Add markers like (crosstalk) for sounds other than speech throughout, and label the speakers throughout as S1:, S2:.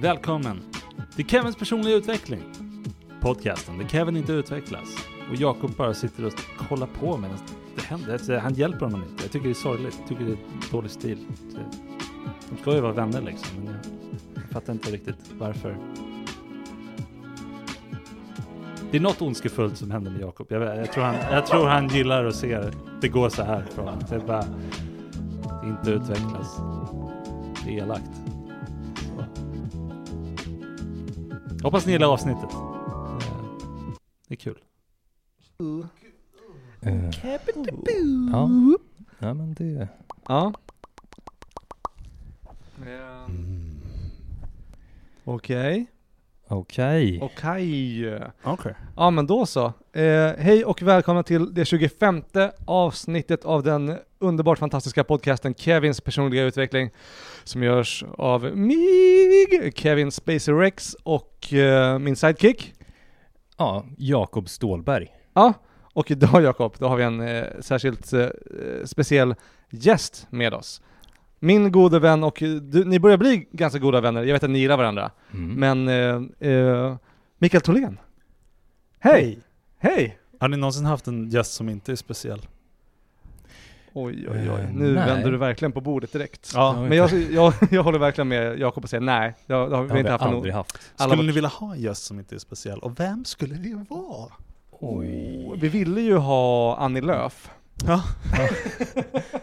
S1: Välkommen till Kevins personliga utveckling. Podcasten där Kevin inte utvecklas och Jakob bara sitter och kollar på medan det händer. Alltså, han hjälper honom inte. Jag tycker det är sorgligt. Jag tycker det är dålig stil. Så, De ska ju vara vänner liksom, men jag, jag fattar inte riktigt varför. Det är något ondskefullt som händer med Jakob. Jag, jag, tror han, jag tror han gillar att se det går så här för honom. Det är bara inte utvecklas. Det är elakt. Så. Hoppas ni gillar avsnittet. Eh, Det är kul.
S2: Eh, ja. ja, men det...
S3: Ja. Eh. Okej.
S2: Okej.
S3: Okej.
S1: Okej.
S3: Ja men då så. Eh, hej och välkomna till det 25 avsnittet av den underbart fantastiska podcasten Kevins personliga utveckling som görs av mig, Kevin Spacer Rex och eh, min sidekick.
S2: Ja, Jakob Stålberg.
S3: Ja, och idag Jakob, då har vi en eh, särskilt eh, speciell gäst med oss. Min gode vän och eh, du, ni börjar bli ganska goda vänner, jag vet att ni gillar varandra.
S2: Mm.
S3: Men eh, eh, Mikael Tholén. Hej! Hej!
S1: Har ni någonsin haft en gäst som inte är speciell?
S3: Oj, oj,
S2: oj, oj.
S3: oj.
S2: Eh,
S3: Nu
S2: nej.
S3: vänder du verkligen på bordet direkt.
S1: Ja,
S3: Men jag, jag, jag håller verkligen med Jakob och säger nej, det har, det har
S2: det
S3: vi inte haft
S2: aldrig
S3: någon.
S2: haft.
S3: Alla
S1: Skulle
S3: var,
S1: ni vilja ha en gäst som inte är speciell? Och vem skulle det vara?
S2: Oj.
S3: Vi ville ju ha Annie Lööf.
S1: Ja.
S3: (laughs)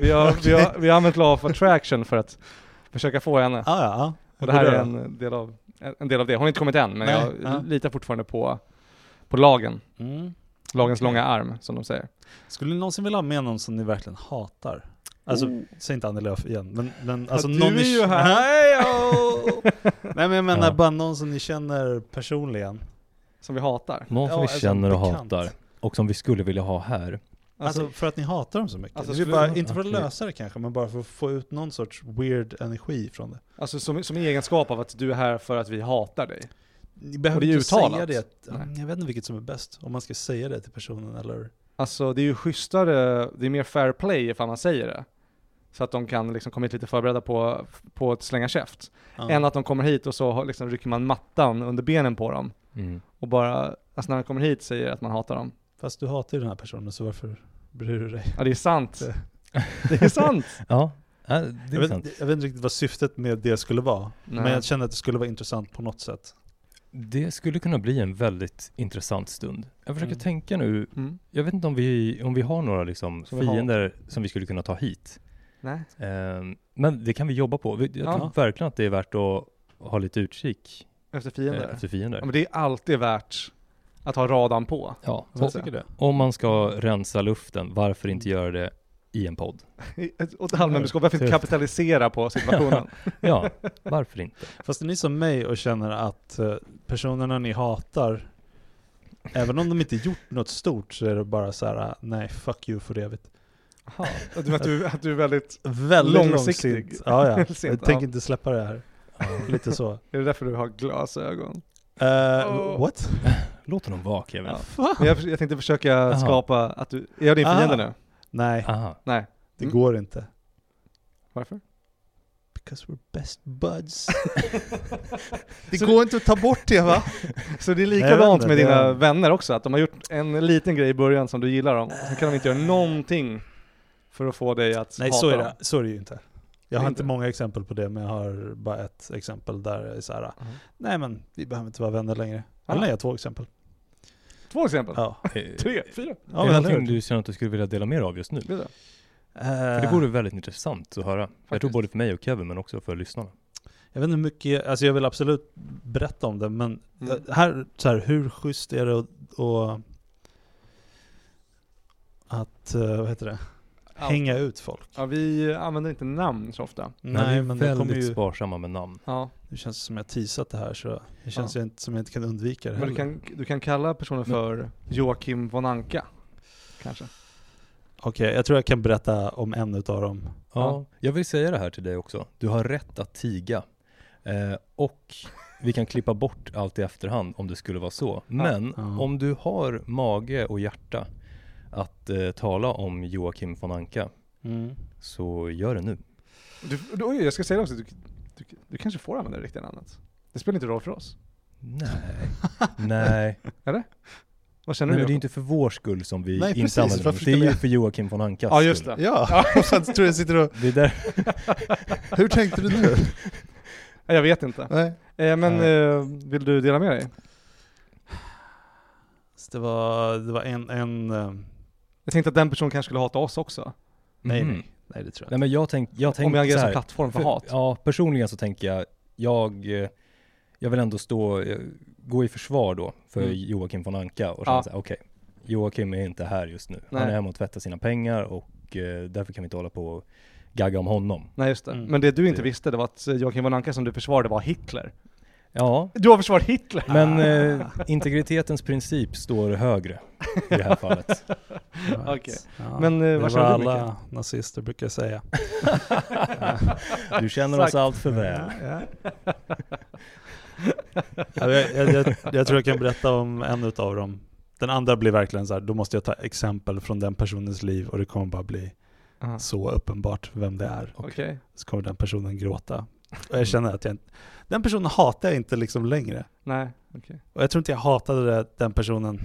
S3: vi, har, vi, har, vi har använt Law of Attraction för att försöka få henne.
S1: Ah, ja, ja.
S3: Och det här är en del av, en del av det. Hon har inte kommit än, men
S1: Nej,
S3: jag
S1: ja.
S3: litar fortfarande på, på lagen.
S1: Mm.
S3: Lagens
S1: Okej.
S3: långa arm, som de säger.
S1: Skulle ni någonsin vilja ha med någon som ni verkligen hatar? Alltså,
S3: Oh.
S1: säg inte Annie Lööf igen, men, men alltså
S3: du
S1: någon
S3: är
S1: ni...
S3: ju här.
S1: Nej, åh.
S3: (laughs)
S1: Nej men jag menar
S2: Ja.
S1: bara någon som ni känner personligen.
S3: Som vi hatar.
S2: Någon som vi
S1: Ja, alltså,
S2: känner och
S1: bekant.
S2: hatar. Och som vi skulle vilja ha här.
S1: Alltså,
S3: Alltså,
S1: för att ni hatar dem så mycket.
S3: Alltså,
S1: det är ju
S3: skulle-
S1: bara, inte för att
S2: Okej.
S1: lösa det kanske, men bara för att få ut någon sorts weird energi från det.
S3: alltså som, som egenskap av att du är här för att vi hatar dig.
S1: Ni
S3: Och
S1: behöver
S3: det är ju
S1: inte säga
S3: uttalat.
S1: det.
S3: Nej.
S1: Jag vet inte vilket som är bäst, om man ska säga det till personen eller...
S3: Alltså det är ju schysstare, det är mer fair play ifall man säger det. Så att de kan liksom komma hit lite förberedda på, på att slänga käft.
S1: Ja.
S3: Än att de kommer hit och så har- liksom rycker man mattan under benen på dem.
S2: Mm.
S3: Och bara, alltså när de kommer hit säger att man hatar dem.
S1: Fast du hatar ju den här personen, så varför bryr du dig?
S3: Ja det är sant. (laughs) Det är (laughs) sant.
S2: Ja, äh, det
S1: Jag
S2: är
S1: vet,
S2: sant.
S1: jag vet inte riktigt vad syftet med det skulle vara,
S3: Nej.
S1: men jag kände att det skulle vara intressant på något sätt.
S2: Det skulle kunna bli en väldigt intressant stund. Jag försöker
S1: Mm.
S2: tänka nu,
S3: Mm.
S2: jag vet inte om vi, om vi har några liksom
S3: Som vi har.
S2: fiender som vi skulle kunna ta hit.
S3: Nej.
S2: Ehm, men det kan vi jobba på. Vi- Jag
S3: Ja.
S2: tror verkligen att det är värt att ha lite utkik
S3: Efter
S2: eh,
S3: fiender.
S2: efter fiender.
S3: Ja, men det är alltid värt att ha radarn på.
S2: Ja,
S3: Vad
S2: och-
S3: säger
S1: det.
S2: om man ska rensa luften, varför inte göra det i en podd?
S3: Åt allmänbudskap, varför inte
S2: Tufft.
S3: kapitalisera på (laughs) situationen?
S2: (laughs) Ja, varför inte?
S1: Fast är ni som mig och känner att eh, personerna ni hatar, även om de inte gjort något stort så är det bara så här: eh, nej fuck you för evigt.
S3: Jaha, att, du- att, du, att du är väldigt...
S1: Väldigt
S3: Långsiktig.
S1: långsint. Ja, ja.
S3: Långsint,
S1: Jag
S3: ja.
S1: tänker inte släppa det här. Lite så.
S3: Är det därför du har glasögon?
S1: Eh,
S3: Oh.
S1: What?
S2: Låt honom vara Kevin.
S3: Ja. Men jag, jag tänkte försöka skapa att du... Är jag din
S1: Ah.
S3: fiende nu?
S1: Nej,
S2: Aha.
S3: Nej.
S1: det
S3: Mm.
S1: går inte.
S3: Varför?
S1: Because we're best buds.
S3: Så-
S1: inte att ta bort det (laughs) va?
S3: Så det är
S1: Nej, jag vet
S3: likadant
S1: inte,
S3: med
S1: det
S3: dina
S1: är-
S3: vänner också, att de har gjort en liten grej i början som du gillar dem, och sen kan de inte göra någonting för att få dig att
S1: Nej
S3: hata
S1: så är,
S3: dem.
S1: det, så är det ju inte. Jag
S3: Det
S1: har
S3: är
S1: inte
S3: inte.
S1: många exempel på det, men jag har bara ett exempel där det är så här,
S3: Mhm.
S1: nej men vi behöver inte vara vänner längre.
S3: Ah.
S1: Eller nej, jag har två exempel.
S3: Två exempel.
S1: Ja,
S2: Eh,
S3: Tre, fyra.
S1: ja
S2: är
S1: men
S2: det
S1: eller
S2: någonting
S1: hur?
S2: du känner att du skulle vilja dela med dig av just nu?
S3: Vet du?
S2: För det
S1: Eh,
S2: vore väldigt intressant att höra. Jag tror
S3: Faktiskt.
S2: både för mig och Kevin, men också för lyssnarna.
S1: Jag vet inte hur mycket, alltså jag vill absolut berätta om det, men
S3: Mm.
S1: eh, här, så här, hur schysst är det att, att, att eh, vad heter det, hänga ut folk?
S3: Ja, vi använder inte namn så ofta.
S2: vi är
S1: Nej men det kommer
S2: väldigt
S1: ju,
S2: sparsamma med namn.
S3: Ja,
S1: nu känns det som jag teasat det här så det känns ju inte, som jag inte kan undvika det
S3: men du
S1: heller.
S3: kan, du kan kalla personen
S1: Mm.
S3: för Joakim von Anka, kanske.
S1: Okej, jag tror jag kan berätta om en utav dem.
S2: Ja.
S3: Ja.
S2: jag vill säga det här till dig också. Du har rätt att tiga. Eh, och vi kan klippa bort allt i efterhand om det skulle vara så. Men
S1: Ja.
S2: om du har mage och hjärta att eh, tala om
S1: Mm.
S2: Joakim von Anka, så gör det nu.
S3: Du, du, oj, jag ska säga det också, du, Du, du kanske får använda det riktiga namnet. Det spelar inte roll för oss.
S2: Nej. (laughs) Nej.
S3: Vad
S2: Nej,
S3: känner du?
S2: men det är ju
S3: Jakob?
S2: inte för vår skull som vi
S4: Nej,
S2: inte
S4: precis.
S2: använder
S4: Varför
S2: namnet. Det är
S4: ska
S2: ju
S4: vi-
S2: för Joakim von Ankas
S3: Ja, just
S2: skull.
S3: det.
S4: Ja, (laughs) jag tror jag sitter och...
S2: Det är där,
S4: Hur tänkte du
S1: (laughs)
S4: nu?
S3: Nej, Jag vet inte.
S4: Nej.
S3: Eh, men
S2: Nej.
S3: eh, vill du dela med dig?
S1: Så Det var, det var en, en... eh,
S3: Jag tänkte att den personen kanske skulle hata oss också.
S1: Nej,
S2: Mhm.
S3: Mm.
S1: nej. Nej, det tror jag
S2: Nej
S1: inte.
S2: men jag tänk, jag
S3: om jag
S2: tänk
S3: agerar
S2: så
S3: som
S2: här.
S3: plattform för,
S2: För-
S3: hat.
S2: Ja, personligen så tänker jag, jag, eh, jag vill ändå stå, eh, gå i försvar då för
S3: Mm.
S2: Joakim von Anka och känna
S3: Ja.
S2: så här, okej, Joakim är inte här just nu. Han
S3: Nej.
S2: är hemma och tvättar sina pengar och eh, därför kan vi inte hålla på och gagga om honom.
S3: Nej just det.
S1: Mm.
S3: Men det du inte
S2: Det-
S3: visste det var att eh, Joakim von Anka som du försvarade var Hitler.
S2: Ja,
S3: Du har försvarat Hitler!
S2: men eh, integritetens princip står högre i det här fallet.
S1: Right.
S3: okej.
S1: Ja,
S3: Men, eh,
S1: det
S3: vad
S1: var
S3: känner du,
S1: alla nazister brukar säga.
S2: Du känner oss allt för väl.
S1: Ja. Ja, jag, jag, jag, jag tror jag kan berätta om en utav dem. Den andra blir verkligen så här, då måste jag ta exempel från den personens liv och det kommer bara bli
S3: Aha,
S1: så uppenbart vem det är.
S3: Okej.
S1: Så kommer den personen gråta. Och jag känner att jag, inte- den personen hatar jag inte liksom längre.
S3: Nej.
S1: Och jag tror inte jag hatade det, den personen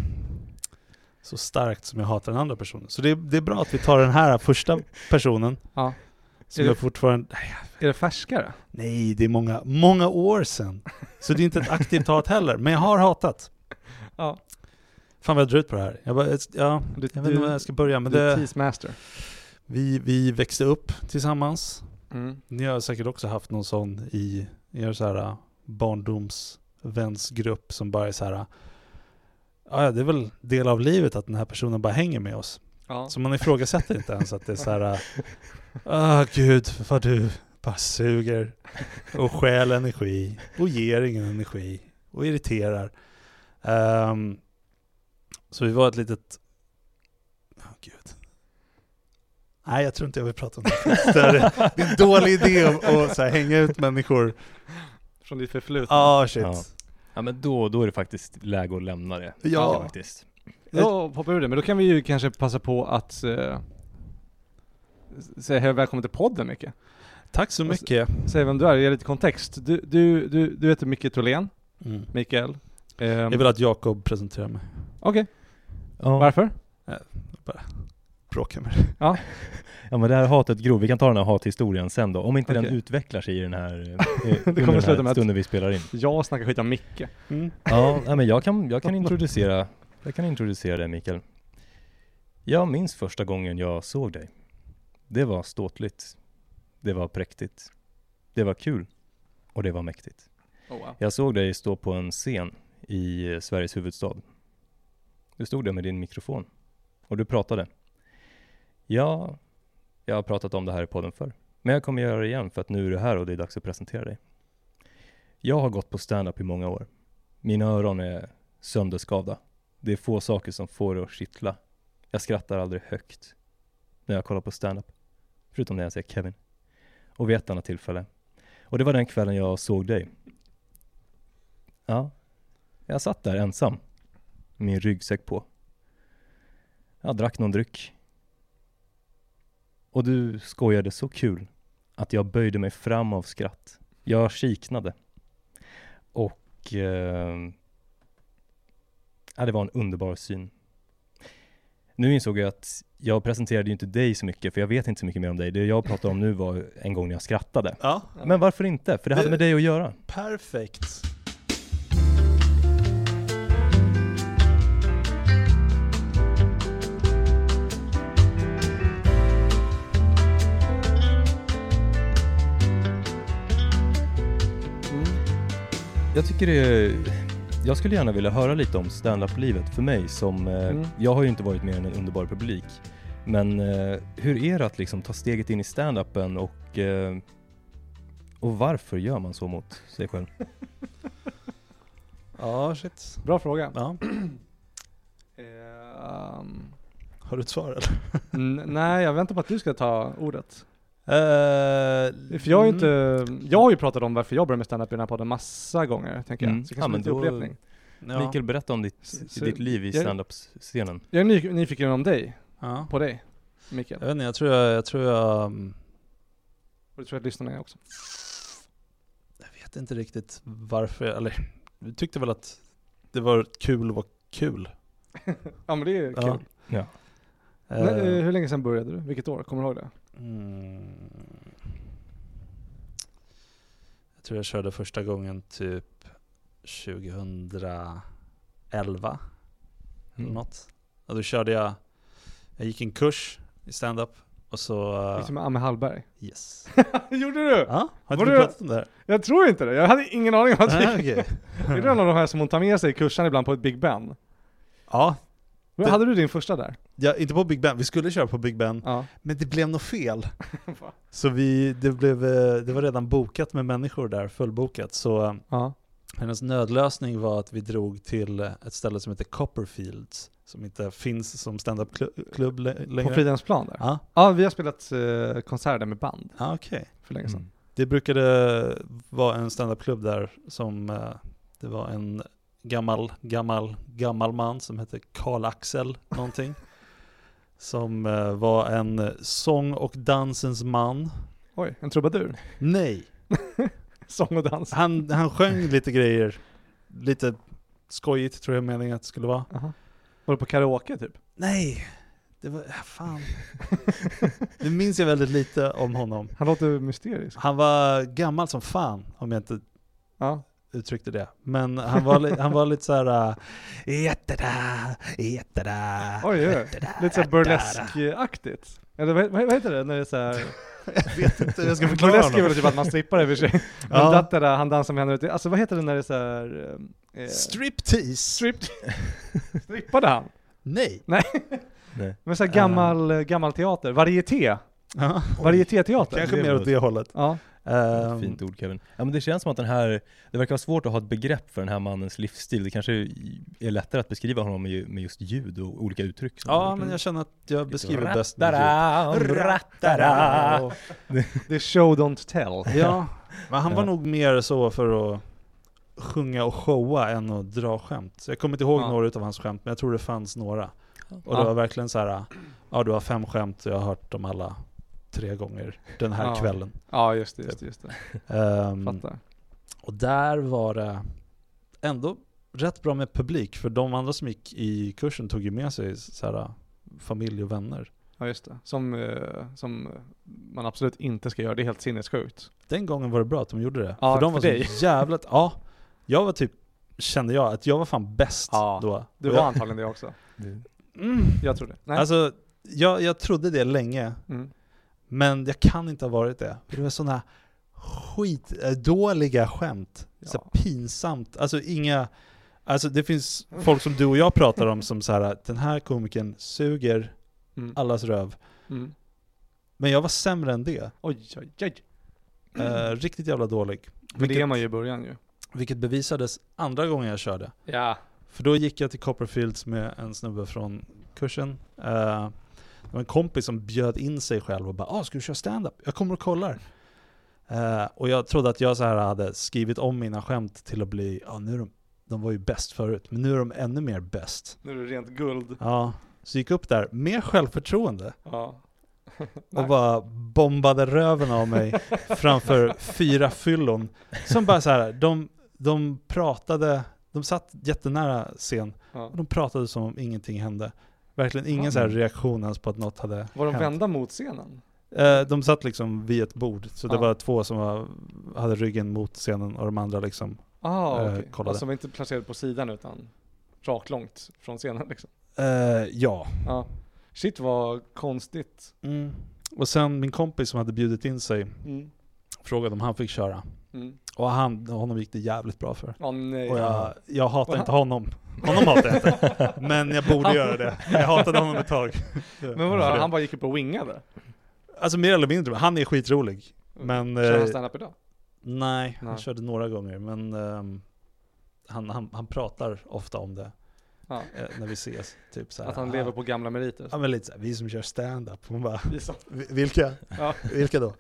S1: så starkt som jag hatar den andra personen. Så det, det är bra att vi tar den här första personen.
S3: Ja.
S1: Som
S3: Är
S1: jag
S3: det-
S1: fortfarande...
S3: Är det färskare?
S1: Nej, det är många, många år sedan. Så det är inte ett aktivt hat heller. Men jag har hatat.
S3: Ja.
S1: Fan vad jag drar ut på det här. Jag, bara, ett- ja,
S3: Du,
S1: jag vet inte var jag ska börja. Men
S3: du är
S1: det,
S3: teasemaster.
S1: vi, vi växte upp tillsammans.
S3: Mm.
S1: Ni har säkert också haft någon sån i er så här äh, barndomsvänsgrupp som bara är så här äh, Ja, det är väl del av livet att den här personen bara hänger med oss.
S3: Ja.
S1: Så man ifrågasätter inte ens att det är så här (laughs) äh, Ah gud, vad du bara suger och stjäl energi och ger ingen energi och irriterar. Ehm, så vi var ett litet... Oh, gud. Nej, jag tror inte jag vill prata om det. Det är det är en dålig idé att att så här, hänga ut människor.
S3: Från ditt förflutna.
S1: Ah shit.
S2: Ja. Ja men då, då är det faktiskt läge att lämna det.
S1: Ja.
S2: Faktiskt.
S3: Då hoppar vi ur det, men då kan vi ju kanske passa på att eh, s- säga hej och välkommen till podden Micke.
S1: Tack så mycket.
S3: Säg vem du är, ge lite kontext. Du, du, du, du heter Micke Tholén,
S1: Mm.
S3: Mikael. Ehm,
S1: Jag vill att Jakob presenterar mig.
S3: Okej,
S2: Ja.
S3: varför?
S1: Bråka med
S2: ja men det här hatet grov, vi kan ta den här hathistorien sen då. Om inte den
S3: Okej.
S2: utvecklar sig i den här, (laughs) eh, eh, under
S3: kommer
S2: den
S3: sluta med
S2: här
S3: att-
S2: stunden vi spelar in.
S3: Jag snackar skit om Micke.
S1: det. Mm.
S2: Ja, nej, men jag kan, jag kan introducera Jag kan introducera dig Mikael Jag minns första gången jag såg dig Det var ståtligt Det var präktigt Det var kul Och det var mäktigt
S3: Oh, wow.
S2: Jag såg dig stå på en scen i eh, Sveriges huvudstad Du stod där med din mikrofon Och du pratade Ja, jag har pratat om det här i podden förr Men jag kommer göra det igen för att nu är du här och det är dags att presentera dig Jag har gått på stand-up i många år mina öron är sönderskavda. Det är få saker som får det att kittla. Jag skrattar aldrig högt när jag kollar på stand-up. Förutom när jag ser Kevin. Och vid ett annat tillfälle. Och det var den kvällen jag såg dig. Ja, jag satt där ensam. med Min ryggsäck på. Jag drack någon dryck. Och du skojade så kul att jag böjde mig fram av skratt. Jag kiknade. Och eh, ja, det var en underbar syn. Nu insåg jag att jag presenterade ju inte dig så mycket, för jag vet inte så mycket mer om dig. Det jag pratade om nu var en gång när jag skrattade.
S1: Ja,
S2: Men varför inte? För det hade med dig att göra.
S1: perfekt.
S2: Jag tycker det är, Jag skulle gärna vilja höra lite om stand-up-livet för mig som... eh,
S3: Mm.
S2: Jag har ju inte varit mer än en underbar publik. Men eh, hur är det att liksom ta steget in i stand-upen och... eh, Och varför gör man så mot sig själv?
S1: Ja, shit.
S3: Bra fråga.
S1: Ja.
S3: Ehm,
S1: Har du ett svar eller?
S3: n- nej, jag väntar på att du ska ta ordet.
S1: Eh,
S3: För jag, är ju
S1: mm.
S3: inte, jag har ju pratat om varför jag började med stand-up i den här podden massa gånger, tänker jag.
S2: Mm.
S3: Så det kanske
S2: Ja,
S3: blir
S2: men
S3: lite
S2: då-
S3: upprepning.
S1: Ja.
S2: Mikael, berätta om ditt,
S3: Så-
S2: ditt liv i
S3: jag-
S2: standup-scenen.
S3: Jag är ny, nyfiken om dig,
S1: Ja.
S3: på dig, Mikael.
S1: Jag vet inte, jag tror jag, jag tror jag... mm,
S3: Och det tror jag att lyssnarna är också.
S1: vet inte riktigt varför, eller vi tyckte väl att det var kul att vara kul.
S3: Ja men det är kul.
S1: Ja.
S2: Ja.
S3: Men, eh,
S1: Eh,
S3: hur länge sedan började du? Vilket år? Kommer du ihåg det?
S1: Mm. Jag tror jag körde första gången typ 2011 eller
S2: Mm.
S1: något. Och då körde jag, jag gick en kurs i stand-up och så...
S3: Gick du Liksom med Amme Hallberg?
S1: Yes.
S3: Gjorde du?
S1: Ja, har
S3: Var
S1: inte vi
S3: det-
S1: pratat om det
S3: (laughs)
S1: här?
S3: Jag tror inte det. Jag hade ingen aning om att
S1: Nej,
S3: det
S1: okej.
S3: (laughs) Är du en av de här som hon tar med sig i kursen ibland på ett Big Ben?
S1: Ja,
S3: Men
S1: Det-
S3: hade du din första där?
S1: ja, inte på Big Ben. Vi skulle köra på Big Ben,
S3: Ja.
S1: men det blev något fel. Så vi, det, blev, eh, det var redan bokat med människor där, fullbokat. Så eh,
S3: ja.
S1: hennes nödlösning var att vi drog till eh, ett ställe som heter Copperfields, som inte finns som standup-klubb lä-
S3: På
S1: längre.
S3: Fridhemsplan där? Ja.
S1: Ja,
S3: vi har spelat eh, konsert där med band
S1: ah, okej.
S3: för länge sedan.
S2: Mm.
S1: Det brukade vara en standupklubb där som eh, det var en gammal, gammal, gammal man som hette Karl-Axel (laughs) någonting. som eh, var en eh, sång och dansens man.
S3: Oj, en trubadur.
S1: Nej,
S3: (laughs) Sång och dans.
S1: han, han sjöng lite grejer. Lite skojigt tror jag meningen att det skulle vara.
S3: Aha. Var du på karaoke typ?
S1: Nej, det var, fan. Nu minns jag väldigt lite om honom.
S3: (laughs) Han låter mysterisk.
S1: Han var gammal som fan om jag inte
S3: Ja.
S1: uttryckte det. Men han var, li- han var lite så här... äh, Jätteda, jätteda.
S3: Oj, oj. Lite såhär burlesk-aktigt. Eller vad, vad vad heter det när det är (laughs) såhär...
S1: (laughs) Jag vet inte hur
S3: (laughs)
S1: jag ska förklara
S3: Burlesk är väl
S1: honom.
S3: typ att man strippar i och för (laughs) sig. Men
S1: Ja.
S3: dattera, han dansar med henne ute. Alltså vad heter det när det är såhär... Eh,
S1: Striptease?
S3: strip... Strippade han?
S1: Nej.
S2: Nej.
S3: Men såhär gammal, eh, gammal teater, varieté.
S1: Ja,
S3: Varietéteater.
S1: Kanske
S2: det
S1: mer
S2: var-
S1: åt det hållet.
S3: Ja.
S1: Ehm,
S2: Fint ord Kevin. Ja, men det känns som att den här, det verkar vara svårt att ha ett begrepp för den här mannens livsstil. Det kanske är lättare att beskriva honom med ju- med just ljud och olika uttryck. som han
S1: Ja,
S2: gjorde.
S1: men jag känner att jag beskriver bäst med ljud.
S2: Rattara, rattara.
S3: Det är show don't tell.
S1: Ja, men han var
S2: Ja.
S1: nog mer så för att sjunga och showa än att dra skämt. Så jag kommer inte ihåg
S3: Ja.
S1: några av hans skämt, men jag tror det fanns några. Och
S3: Ja.
S1: det var verkligen så här, ja du har fem skämt och jag har hört dem alla tre gånger den här
S3: Ja.
S1: kvällen.
S3: (laughs) Ja, just det, just
S1: Typ.
S3: det. Just det.
S1: Ehm,
S3: Fattar.
S1: och där var det ändå rätt bra med publik, för de andra som gick i kursen tog ju med sig så här, familj och vänner.
S3: Ja, just det. Som, eh, som eh, man absolut inte ska göra. Det är helt sinnessjukt.
S1: Den gången var det bra att de gjorde det.
S3: Ja,
S1: för de
S3: för
S1: var
S3: dig. (laughs)
S1: så jävla... Ja, jag var typ, kände jag, att jag var fan bäst
S3: Ja,
S1: då.
S3: Du
S1: Och
S3: var
S1: jag,
S3: antagligen det också.
S2: Det-
S1: mm,
S3: Jag tror det. Nej.
S1: Alltså, jag, jag trodde det länge,
S3: mm.
S1: men jag kan inte ha varit det. För det var sådana skitdåliga skämt. Så
S3: Ja.
S1: pinsamt. Alltså inga... Alltså det finns folk som du och jag pratar om som så här, den här komikern suger
S3: Mm.
S1: allas röv.
S3: Mm.
S1: Men jag var sämre än det.
S3: Oj, oj, oj.
S1: Eh, riktigt jävla dålig.
S3: Mm. Men det är
S1: Vilket,
S3: man ju i början ju.
S1: vilket bevisades andra gången jag körde.
S3: Ja.
S1: För då gick jag till Copperfields med en snubbe från kursen. Eh, det var en kompis som bjöd in sig själv och bara ah, ”Ska du köra stand-up? Jag kommer och kollar”. Eh, och jag trodde att jag så här hade skrivit om mina skämt till att bli ah, nu är de, de var ju bäst förut, men nu är de ännu mer bäst”.
S3: Nu är det rent guld.
S1: Ja, så gick jag upp där med självförtroende
S3: Ja.
S1: och bara bombade röven av mig framför fyra fyllon. Som bara så här, de, de pratade, de satt jättenära scen
S3: Ja.
S1: och de pratade som om ingenting hände. Verkligen ingen
S2: Ja.
S1: så här reaktion ens på att något hade
S3: Var de
S1: hänt.
S3: vända mot scenen?
S1: Eh, de satt liksom vid ett bord, så det
S3: Ja.
S1: var två som var, hade ryggen mot scenen och de andra liksom.
S3: Ah,
S1: Eh,
S3: okej.
S1: kollade.
S3: Alltså de var inte placerade på sidan utan rakt långt från scenen liksom.
S1: Eh, ja.
S3: Ja. Shit vad konstigt.
S1: Och sen min kompis som hade bjudit in sig
S3: Mm.
S1: frågade om han fick köra.
S3: Mm.
S1: Och han, honom gick det jävligt bra för.
S3: Åh nej. (laughs)
S1: Och jag, jag hatar
S3: Och
S1: inte honom. Honom hatar jag inte. Men jag borde göra det. Jag hatade honom ett tag.
S3: Men vadå,
S1: För det.
S3: han bara gick upp och wingade?
S1: Alltså mer eller mindre, han är skitrolig. Men...
S3: Kör
S1: eh,
S3: han standup idag?
S1: Nej, han
S3: Nej.
S1: körde några gånger, men ehm, han, han, han pratar ofta om det
S3: Ja.
S1: eh, när vi ses. Typ så här,
S3: Att han
S1: "Ah,
S3: lever på gamla meriter?
S1: Ja men lite såhär, vi som kör stand-up. Hon bara,
S3: Vi sa-
S1: (laughs) "Vi- vilka?
S3: Ja.
S1: Vilka då?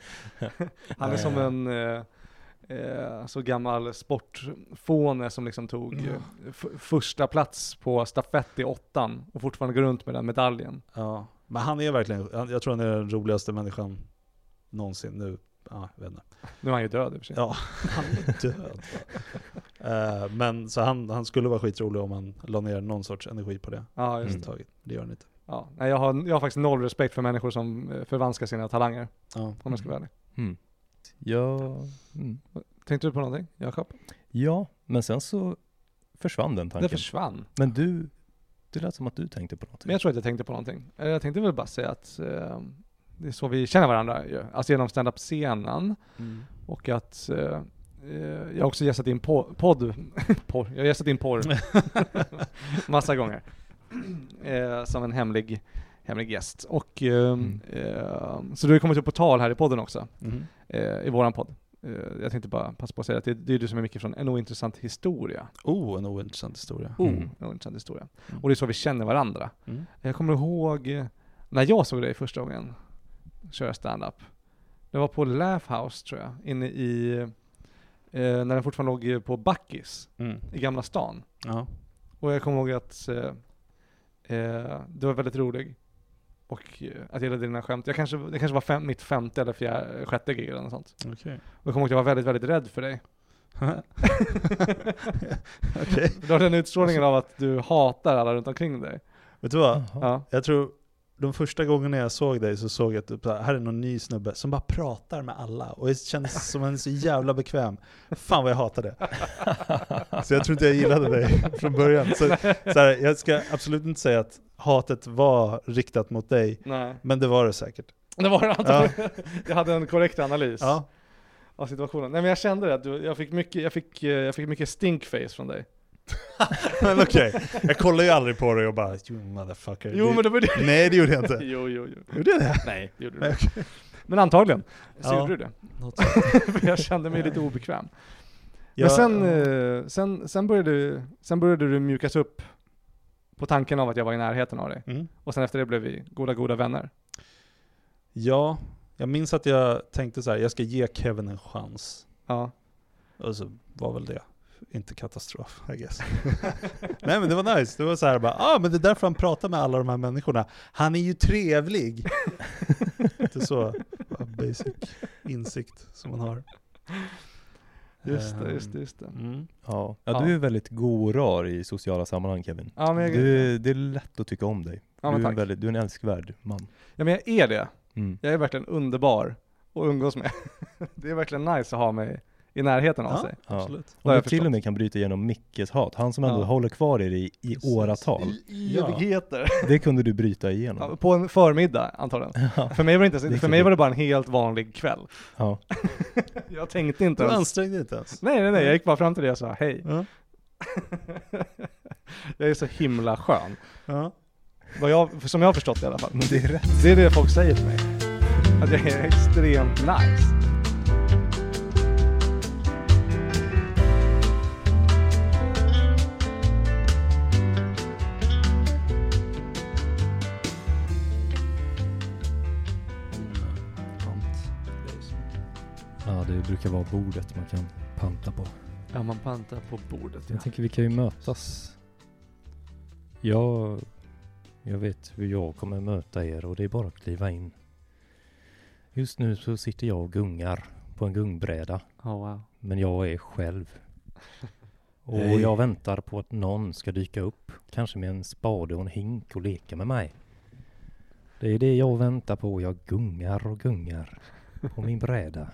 S3: Han är
S1: Eh.
S3: som en eh, eh, så gammal sportfåne som liksom tog eh, f- första plats på stafett i åttan och fortfarande går runt med den medaljen.
S1: Ja, men han är verkligen, han- jag tror han är den roligaste människan någonsin nu. ja, jag vet inte.
S3: Nu är han ju död i och för sig.
S1: Ja, han är (laughs) död. Eh, men så han, han skulle vara skitrolig om han la ner någon sorts energi på det.
S3: Ja, just
S2: Mm.
S3: det.
S1: Taget. Det gör han inte.
S3: Ja. Nej, jag, har, jag har faktiskt noll respekt för människor som eh, förvanskar sina talanger,
S1: Ja.
S3: om jag ska vara ärlig.
S2: Mm. Ja, mm.
S3: Tänkte du på någonting, Jakob?
S2: ja, men sen så försvann den
S3: Det
S2: tanken.
S3: försvann.
S2: men du, det lät som att du tänkte på någonting.
S3: Men jag tror att jag tänkte på någonting. Eh, Jag tänkte väl bara säga att eh, det är så vi känner varandra ju. Alltså genom stand-up-scenen
S1: Mm.
S3: och att eh, eh, jag har också gästat in po- podd. (laughs) porr. Jag har gästat in porr. Massa gånger. Eh, som en hemlig, hemlig gäst. Och, eh,
S2: Mm.
S3: eh, så du har ju kommit upp på tal här i podden också.
S1: Mhm.
S3: eh, i våran podd. Eh, jag tänkte bara passa på att säga att det, det är du som är mycket från en ointressant historia.
S1: Oh, en ointressant historia.
S3: Oh,
S2: Mm.
S3: en ointressant historia.
S1: Mm.
S3: Och det är så vi känner varandra.
S1: Mm.
S3: Jag kommer ihåg eh, när jag såg dig första gången köra stand-up. Det var på Laugh House tror jag, inne i, eh, när den fortfarande låg eh, på Backis
S1: Mm.
S3: i Gamla stan.
S1: Ja.
S3: Och jag kommer ihåg att eh, eh, du var väldigt rolig. Och eh, att jag gillade dina skämt. Jag kanske, det kanske var fem, mitt femte eller fjärde, sjätte gig eller något sånt.
S1: Okej.
S3: Och jag kommer ihåg att jag var väldigt, väldigt rädd för dig.
S1: (laughs) Okej.
S3: Du har den utstrålningen av att du hatar alla runt omkring dig.
S1: Vet du vad?
S2: Jaha.
S3: Ja.
S1: Jag tror de första gångerna jag såg dig så såg jag att typ så här, här är någon ny snubbe som bara pratar med alla och det känns som en så jävla bekväm. Fan vad jag hatar
S3: (laughs)
S1: det. Så jag tror inte jag gillade dig från början. Så, så här, jag ska absolut inte säga att hatet var riktat mot dig,
S3: Nej.
S1: men det var det säkert.
S3: Det var det antagligen. Jag hade en korrekt analys
S1: Ja.
S3: av situationen. Nej men jag kände det, att du, jag, fick mycket, jag, fick, eh, jag fick mycket stinkface från dig.
S1: (laughs) Men okej, jag kollar ju aldrig på dig och bara you motherfucker.
S3: Jo men det var
S1: (laughs)
S3: det.
S1: Nej det gjorde jag inte.
S3: Jo, jo, jo.
S1: Gjorde jag det?
S3: Nej, det gjorde du inte. Men antagligen så
S1: Ja.
S3: gjorde du det. (laughs)
S1: Något
S3: För jag kände mig lite obekväm.
S1: Jag-
S3: men sen, eh, sen, sen, började, du- sen började du mjukas upp på tanken av att jag var i närheten av dig.
S1: Mm.
S3: Och sen efter det blev vi goda, goda vänner.
S1: Ja, jag minns att jag tänkte så här, jag ska ge Kevin en chans.
S3: Ja.
S1: Och så var väl det inte katastrof, I
S2: (laughs)
S1: guess. Nej men det var nice, det var så här bara, ah men det är därför han pratar med alla de här människorna. Han är
S2: (laughs)
S1: ju trevlig! Inte så bara basic insikt som man har.
S3: Just det, just det, just det.
S1: Ehm, Mm.
S2: Ja. Ja,
S3: Ja.
S2: du är väldigt god och rar i sociala sammanhang Kevin.
S3: Ja, men jag,
S2: Du, det är lätt att tycka om dig.
S3: ja, men
S2: du, är en
S3: tack.
S2: väldigt, du är en älskvärd man.
S3: Ja, men jag är det.
S2: Mm.
S3: Jag är verkligen underbar att umgås med. (laughs) Det är verkligen nice att ha mig i närheten av
S1: Ja.
S3: sig.
S2: Ja.
S1: Absolut.
S2: Och
S3: har
S2: du
S3: jag
S2: till
S3: förstått.
S2: och med kan bryta igenom Mickes hat, han som ändå
S3: Ja.
S2: håller kvar i dig i
S1: Precis.
S2: åratal.
S3: I
S1: Ja.
S3: evigheter.
S2: Det kunde du bryta
S3: Ja,
S2: igenom.
S3: på en förmiddag antagligen.
S2: (laughs)
S3: För mig, var det
S2: Det
S3: inte,
S2: är
S3: för mig
S2: klart.
S3: var det bara en helt vanlig kväll.
S2: Ja.
S3: Jag tänkte inte
S1: Du
S3: ens.
S1: ansträngde inte ens.
S3: Nej, nej, nej. Jag gick bara fram till dig och sa hej.
S1: Ja.
S3: Jag är så himla skön.
S1: Ja.
S3: Vad jag, som jag har förstått det i alla fall.
S2: Men det är rätt.
S3: Det är det folk säger till mig. Att jag är extremt nice.
S2: Ja, det brukar vara bordet man kan panta på.
S3: Ja, man pantar på bordet.
S2: Jag tänker vi kan ju mötas. Jag, jag vet hur jag kommer möta er och det är bara att kliva in. Just nu så sitter jag och gungar på en gungbräda,
S3: Oh, wow.
S2: men jag är
S1: (laughs)
S2: själv. Och
S1: Hej.
S2: jag väntar på att någon ska dyka upp, kanske med en spade och en hink och leka med mig. Det är det jag väntar på, jag gungar och gungar på min bräda.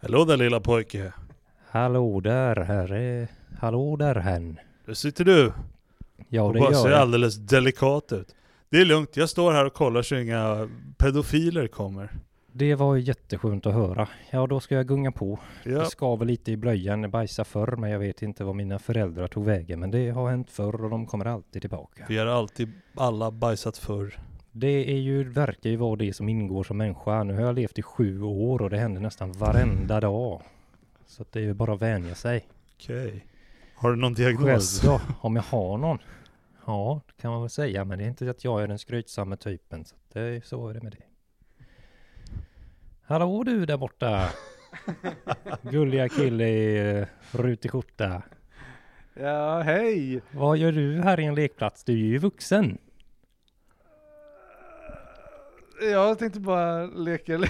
S1: Hallå där lilla pojke.
S2: Hallå där herre, hallå där hen.
S1: Där sitter du
S2: Ja
S1: och
S2: det
S1: bara
S2: gör
S1: ser
S2: jag.
S1: alldeles delikat ut. Det är lugnt, jag står här och kollar så inga pedofiler kommer.
S2: Det var ju jätteskönt att höra. Ja, då ska jag gunga på. Det skaver lite i blöjan. Jag bajsade förr, men jag vet inte vad mina föräldrar tog vägen. Men det har hänt förr och de kommer alltid tillbaka.
S1: Vi har alltid alla bajsat förr.
S2: Det är ju, verkar ju vara det som ingår som människa. Nu har jag levt i sju år och det händer nästan varenda dag. Så att det är ju bara att vänja sig.
S1: Okej. Har du någon diagnos?
S2: Själv då, om jag har någon? Ja, det kan man väl säga, men det är inte att jag är den skrytsamma typen. Så, att det är, så är det med det. Hallå du där borta! Gulliga kille i eh, rutig skjorta.
S3: Ja, hej!
S2: Vad gör du här i en lekplats? Du är ju vuxen.
S3: Jag tänkte bara leka, (laughs)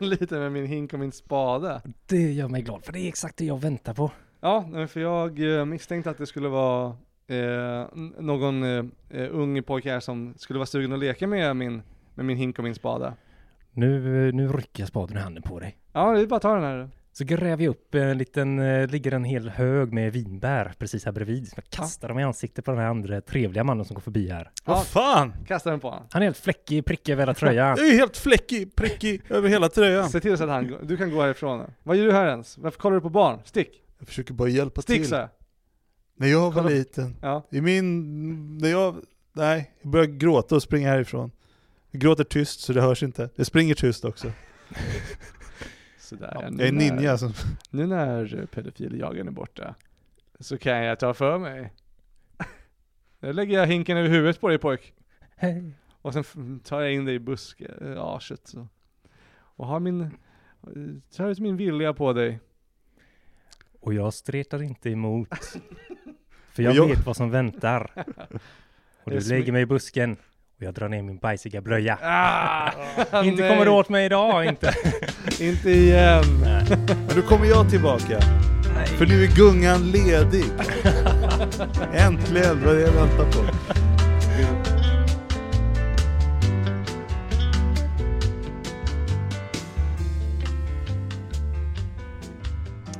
S3: lite med min hink och min spade.
S2: Det gör mig glad, för det är exakt det jag väntar på.
S3: Ja, nej, men för jag eh, misstänkte att det skulle vara eh, n- någon eh, eh, ung pojke här som skulle vara sugen att leka med min, med min hink och min spade.
S2: Nu, eh, nu rycker jag spaden ur handen på dig.
S3: Ja, det är bara att ta den här.
S2: Så gräver jag upp en liten, eh, ligger en hel hög med vinbär precis här bredvid. Så jag kastar dem i ansiktet på den här andra trevliga mannen som går förbi här.
S5: Vad
S3: Ja.
S5: fan!
S3: Kasta den på honom.
S2: Han är helt fläckig, prickig över hela tröjan. (laughs)
S5: Jag är ju helt fläckig, prickig över hela tröjan.
S3: Se till så att han, går- du kan gå härifrån. nu. Vad gör du här ens? Varför kollar du på barn? Stick!
S1: Jag försöker bara hjälpa
S3: Stick
S1: till.
S3: så här.
S1: När jag var
S3: Kolla.
S1: liten,
S3: Ja.
S1: i min... När jag... Nej, jag börjar gråta och springa härifrån. Jag gråter tyst så det hörs inte. Jag springer tyst också.
S3: Sådär.
S1: Jag är ninja som...
S3: Nu när pedofiljagaren är borta så kan jag ta för mig.
S1: (laughs)
S3: Nu lägger jag hinken över huvudet på dig pojk.
S2: Hej.
S3: Och sen f- tar jag in dig i buskaget. Så. Och har min, eh, tar ut min vilja på dig.
S2: Och jag stretar inte emot. (laughs) För jag,
S1: Och jag-
S2: vet vad
S3: (laughs)
S2: som väntar.
S3: Det
S2: Och
S3: är
S2: du
S3: smi-
S2: lägger mig i busken. Och jag drar ner min bajsiga blöja.
S3: (laughs) Ah,
S2: inte
S3: nej.
S2: kommer du åt mig idag,
S3: (laughs)
S2: inte.
S3: Inte igen.
S1: Men då kommer jag tillbaka. För nu är gungan ledig. Äntligen, vad är det jag väntar på.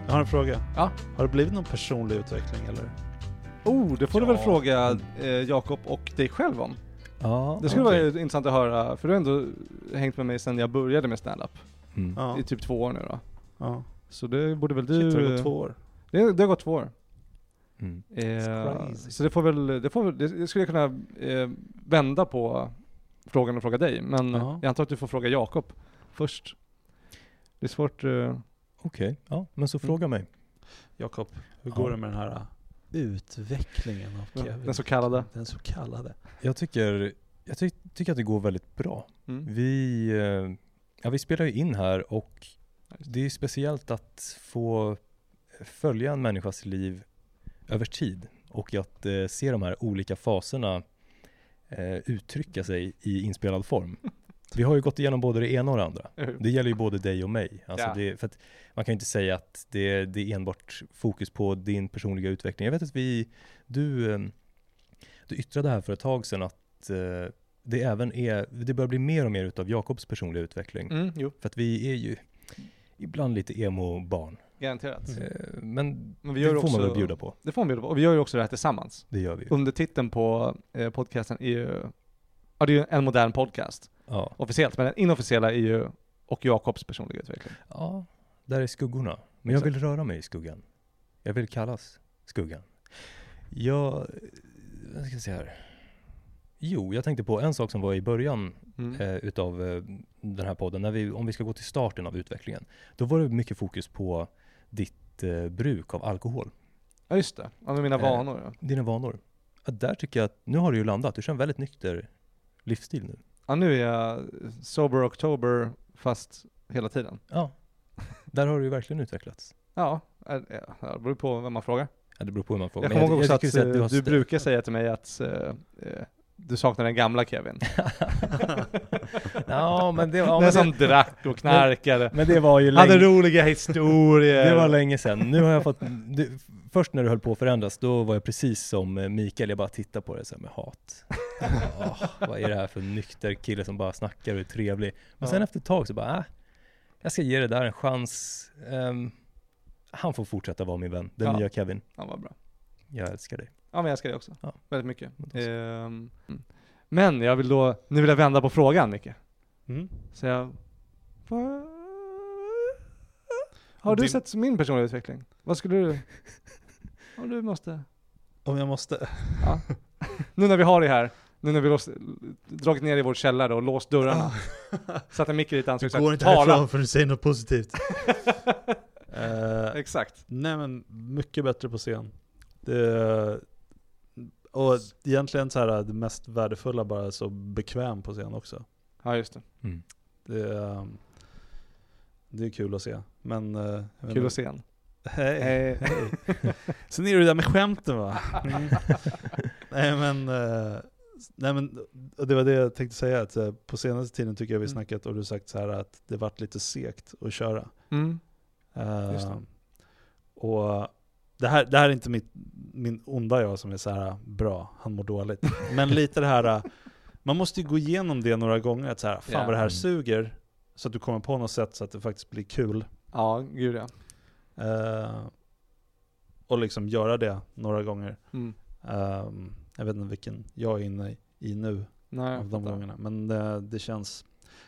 S1: Jag har en fråga.
S3: Ja.
S1: Har det blivit någon personlig utveckling eller?
S3: Oh, det får du
S2: Ja.
S3: väl fråga eh, Jakob och dig själv om.
S2: Ja,
S3: Det skulle
S2: okej.
S3: vara intressant att höra, för du har ändå hängt med mig sedan jag började med stand-up.
S2: Mm.
S1: Ja.
S3: I typ två år nu då.
S1: ja.
S3: Så det borde väl du... eh,
S1: Shit, det har gått två år.
S3: Det, det har gått två år.
S2: Mm.
S3: Eh,
S1: crazy.
S3: så det får väl, det, får, väl- det, det skulle jag kunna eh, vända på frågan och fråga dig. Men
S1: Ja.
S3: jag antar att du får fråga Jakob först. Det är svårt. Eh,
S2: Okej, ja, men så
S3: Mm.
S2: fråga mig.
S1: Jakob, hur
S2: går
S1: går
S2: det
S1: det med den här äh, utvecklingen av
S3: Kevin? den så kallade.
S1: Den så kallade.
S2: Jag tycker, jag ty- tycker att det går väldigt bra.
S3: mm.
S2: Vi, eh, ja, vi spelar ju in här och det är speciellt att få följa en människas liv över tid och att eh, se de här olika faserna eh, uttrycka sig i inspelad form. Vi har ju gått igenom både det ena och det andra. Det gäller ju både dig och mig. Alltså
S3: Ja.
S2: det, för att man kan ju inte säga att det, det är enbart fokus på din personliga utveckling. Jag vet att vi, du, eh, du yttrade här för ett tag sedan att eh, det även är, det börjar bli mer och mer utav Jakobs personliga utveckling.
S3: Mm, jo,
S2: För att vi är ju ibland lite emo-barn.
S3: garanterat.
S2: Eh, Men,
S3: Men Mm. vi gör
S2: det får
S3: också,
S2: man väl bjuda på.
S3: Det får man bjuda på. Och vi gör ju också det här tillsammans.
S2: Det gör vi ju.
S3: Undertiteln på eh, podcasten är ju, ja det är ju en modern podcast.
S2: Ja.
S3: Officiellt, men den inofficiella är ju och Jakobs personliga utveckling.
S2: ja, där är skuggorna. Men jag vill röra mig i skuggan. Jag vill kallas skuggan. Jag, vad ska jag säga här? Jo, jag tänkte på en sak som var i början
S3: Mm.
S2: eh, utav eh, den här podden. När vi, om vi ska gå till starten av utvecklingen. Då var det mycket fokus på ditt eh, bruk av alkohol.
S3: Ja just det, ja, med mina
S2: eh,
S3: vanor ja.
S2: Dina vanor. Ja, där tycker jag att nu har du ju landat. Du kör en väldigt nykter livsstil nu.
S3: ja. nu är jag sober oktober fast hela tiden.
S2: Ja, där har du ju verkligen utvecklats.
S3: Ja, eh, eh, ja, det beror på vem man frågar.
S2: Ja, det beror på hur man frågar.
S3: Jag kommer ihåg också att,
S2: tycker
S3: eh,
S2: har
S3: du
S2: stä-
S3: brukar säga till mig att eh, eh, du saknar den gamla Kevin.
S2: ja, men det, ja,
S3: den
S2: men,
S3: som
S2: det,
S3: drack och knarkade.
S2: men det var ju
S3: Hade
S2: länge,
S3: roliga historier.
S2: det var länge sedan. Nu har jag fått, du, först när du höll på att förändras, då var jag precis som eh, Mikael, jag bara tittade på det så här med hat. Åh, vad är det här för nykter kille som bara snackar och är trevlig? Men sen
S3: Ja.
S2: efter ett tag så bara, äh, jag ska ge det där en chans. Ehm, han får fortsätta vara min vän, den
S3: Ja.
S2: nya Kevin.
S3: Ja, vad bra.
S2: Jag älskar dig.
S3: Ja, men jag älskar det också.
S2: Ja.
S3: Väldigt mycket.
S2: Men då så.
S3: Ehm, men jag vill då, nu vill jag vända på frågan Micke.
S1: Mm.
S3: Så jag... Va- Har du
S1: Din-
S3: sett min personliga utveckling? Vad skulle du... Om du måste...
S1: Om jag måste.
S3: Ja. Nu när vi har det här, nu när vi låst, dragit ner i vår källare och låst
S1: (laughs)
S3: dörrarna. Satt en mick i ditt
S1: Ah. Du
S3: ansikte
S1: går
S3: och
S1: inte
S3: sa
S1: härifrån
S3: tala.
S1: förrän du säger något positivt.
S3: (laughs)
S1: Eh,
S3: Exakt.
S1: Nej men mycket bättre på scen. Det, och egentligen så här det mest värdefulla bara så bekväm på scen också.
S3: Ja just det.
S2: Mm.
S1: Det, eh, det är kul att se. Men, eh, jag vet
S3: Kul
S1: inte.
S3: att se en. Eh,
S1: Hej.
S3: Hej.
S1: Hej. (laughs) Sen är det det där med skämten va? Nej men eh, Nej men och det var det jag tänkte säga, att så här, på senaste tiden tycker jag vi
S3: Mm.
S1: snackat och du sagt så här att det varit lite segt att köra.
S3: Mm.
S1: Eh,
S3: Just det.
S1: Och det här, det här är inte mitt, min onda jag som är så här bra, han
S3: (laughs)
S1: mår dåligt. Men lite det här, eh, man måste ju gå igenom det några gånger, att så här, fan
S3: Ja.
S1: vad det här
S2: Mm.
S1: suger, så att du kommer på något sätt så att det faktiskt blir kul.
S3: Ja, gud ja.
S1: Eh, och liksom göra det några gånger.
S3: Mm.
S1: Eh, jag vet inte vilken jag är inne i- i nu
S3: Nej, jag
S1: av de
S3: fattar.
S1: gångerna. Men det, det känns...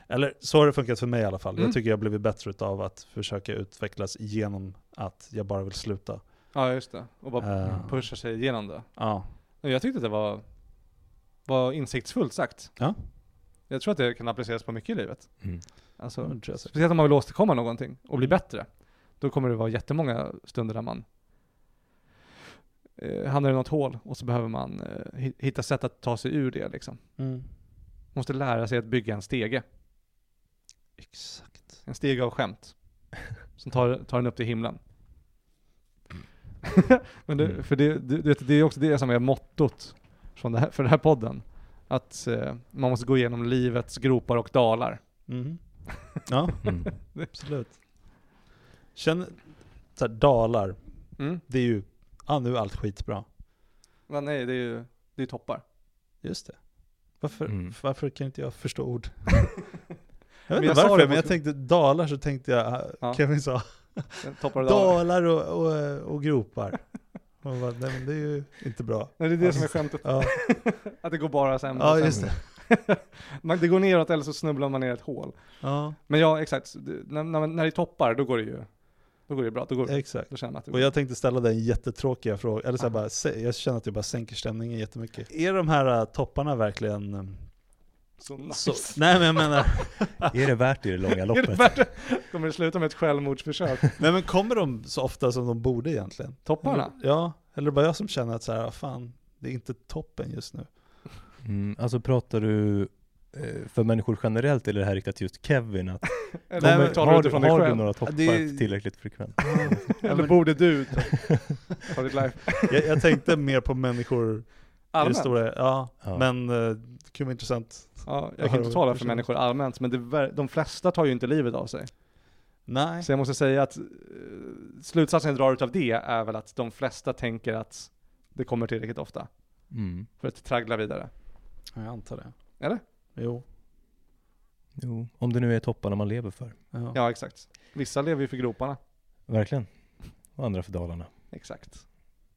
S1: Eller så har det funkat för mig i alla fall.
S3: Mm.
S1: Jag tycker jag har blivit bättre av att försöka utvecklas genom att jag bara vill sluta.
S3: Ja, just det. Och bara
S1: Eh,
S3: pusha sig igenom det.
S1: ja.
S3: Men Jag tyckte att det var, var insiktsfullt sagt.
S1: Ja.
S3: Jag tror att det kan appliceras på mycket i livet.
S2: Mm.
S3: Alltså,
S1: Ja, det tror jag säkert.
S3: speciellt om man vill åstadkomma någonting och bli bättre. Då kommer det vara jättemånga stunder där man eh, hamnar i något hål och så behöver man eh, hi- hitta sätt att ta sig ur det liksom.
S1: Mm.
S3: Måste lära sig att bygga en stege.
S1: Exakt.
S3: En stege av skämt. Som tar, tar den upp till himlen. (laughs) Men det,
S2: Mm.
S3: för det, du, du vet, det är också det som är mottot från det här, för den här podden. Att eh, man måste gå igenom livets gropar och dalar.
S1: Mhm.
S3: (laughs)
S1: Ja,
S2: Mm.
S1: absolut. Känn, så här, dalar,
S3: Mm.
S1: det är ju, ah, nu är allt skitbra.
S3: Men nej, det är ju det är toppar.
S1: Just det. Varför,
S2: Mm.
S1: varför kan inte jag
S3: (laughs)
S1: förstå ord? jag
S3: Men
S1: vet
S3: jag
S1: inte
S3: sa
S1: varför,
S3: det,
S1: men jag
S3: måste-
S1: tänkte dalar så tänkte jag, ah,
S3: Ja.
S1: Kevin sa,
S3: Toppar och dalar.
S1: dalar och, och, och gropar. Man bara, nej men det är ju inte bra.
S3: Nej, det är det som är skämtet.
S1: Ja,
S3: Att det går bara sämre och
S1: ja
S3: sämre.
S1: just det.
S3: Man, det går neråt eller så snubblar man ner i ett hål.
S1: Ja,
S3: Men ja, exakt. Det- När, när, när det är toppar, då går det ju då går det bra. Då, går,
S1: exakt.
S3: då känner man att det
S1: Och jag tänkte ställa den jättetråkiga frågan, eller så här
S3: Ah.
S1: bara, sä- jag känner att jag bara sänker stämningen jättemycket. Är de här äh, topparna verkligen... ähm,
S3: så nice.
S1: Så, nej men jag (laughs) menar,
S2: Är det värt det i det långa
S3: (laughs) Är det
S2: loppet?
S3: värt det? Kommer det sluta med ett självmordsförsök?
S1: nej men kommer de så ofta som de borde egentligen?
S3: Topparna?
S1: Ja, eller bara jag som känner att så här, ah, fan, det är inte toppen just nu.
S2: Mm, alltså pratar du eh, för människor generellt eller är det här riktat just Kevin? Att
S3: Eller
S1: Nej,
S3: Nej,
S1: men
S3: talar du
S2: har, du,
S3: utifrån dig
S2: har du
S3: själv?
S2: några toppar
S1: Det-
S2: tillräckligt
S1: (laughs)
S2: frekvent?
S3: Eller borde du (laughs) ta- ta ditt life?
S1: jag, jag tänkte mer på människor i det
S3: Allmänt?
S1: stora, ja,
S2: Ja.
S1: men äh, det kan vara intressant.
S3: Ja, jag
S1: Jag
S3: kan
S1: har-
S3: inte tala för
S1: förstår.
S3: människor allmänt, men det, ver- de flesta tar ju inte livet av sig.
S1: Nej,
S3: Så jag måste säga att eh, slutsatsen jag drar utav det är väl att de flesta tänker att det kommer tillräckligt ofta
S2: Mm.
S3: för att traggla vidare.
S1: ja, jag antar det.
S3: Eller?
S1: Jo.
S2: Jo, om det nu är topparna man lever för.
S1: Ja.
S3: Ja, exakt. Vissa lever ju för groparna.
S2: Verkligen. Och andra för Dalarna.
S3: Exakt.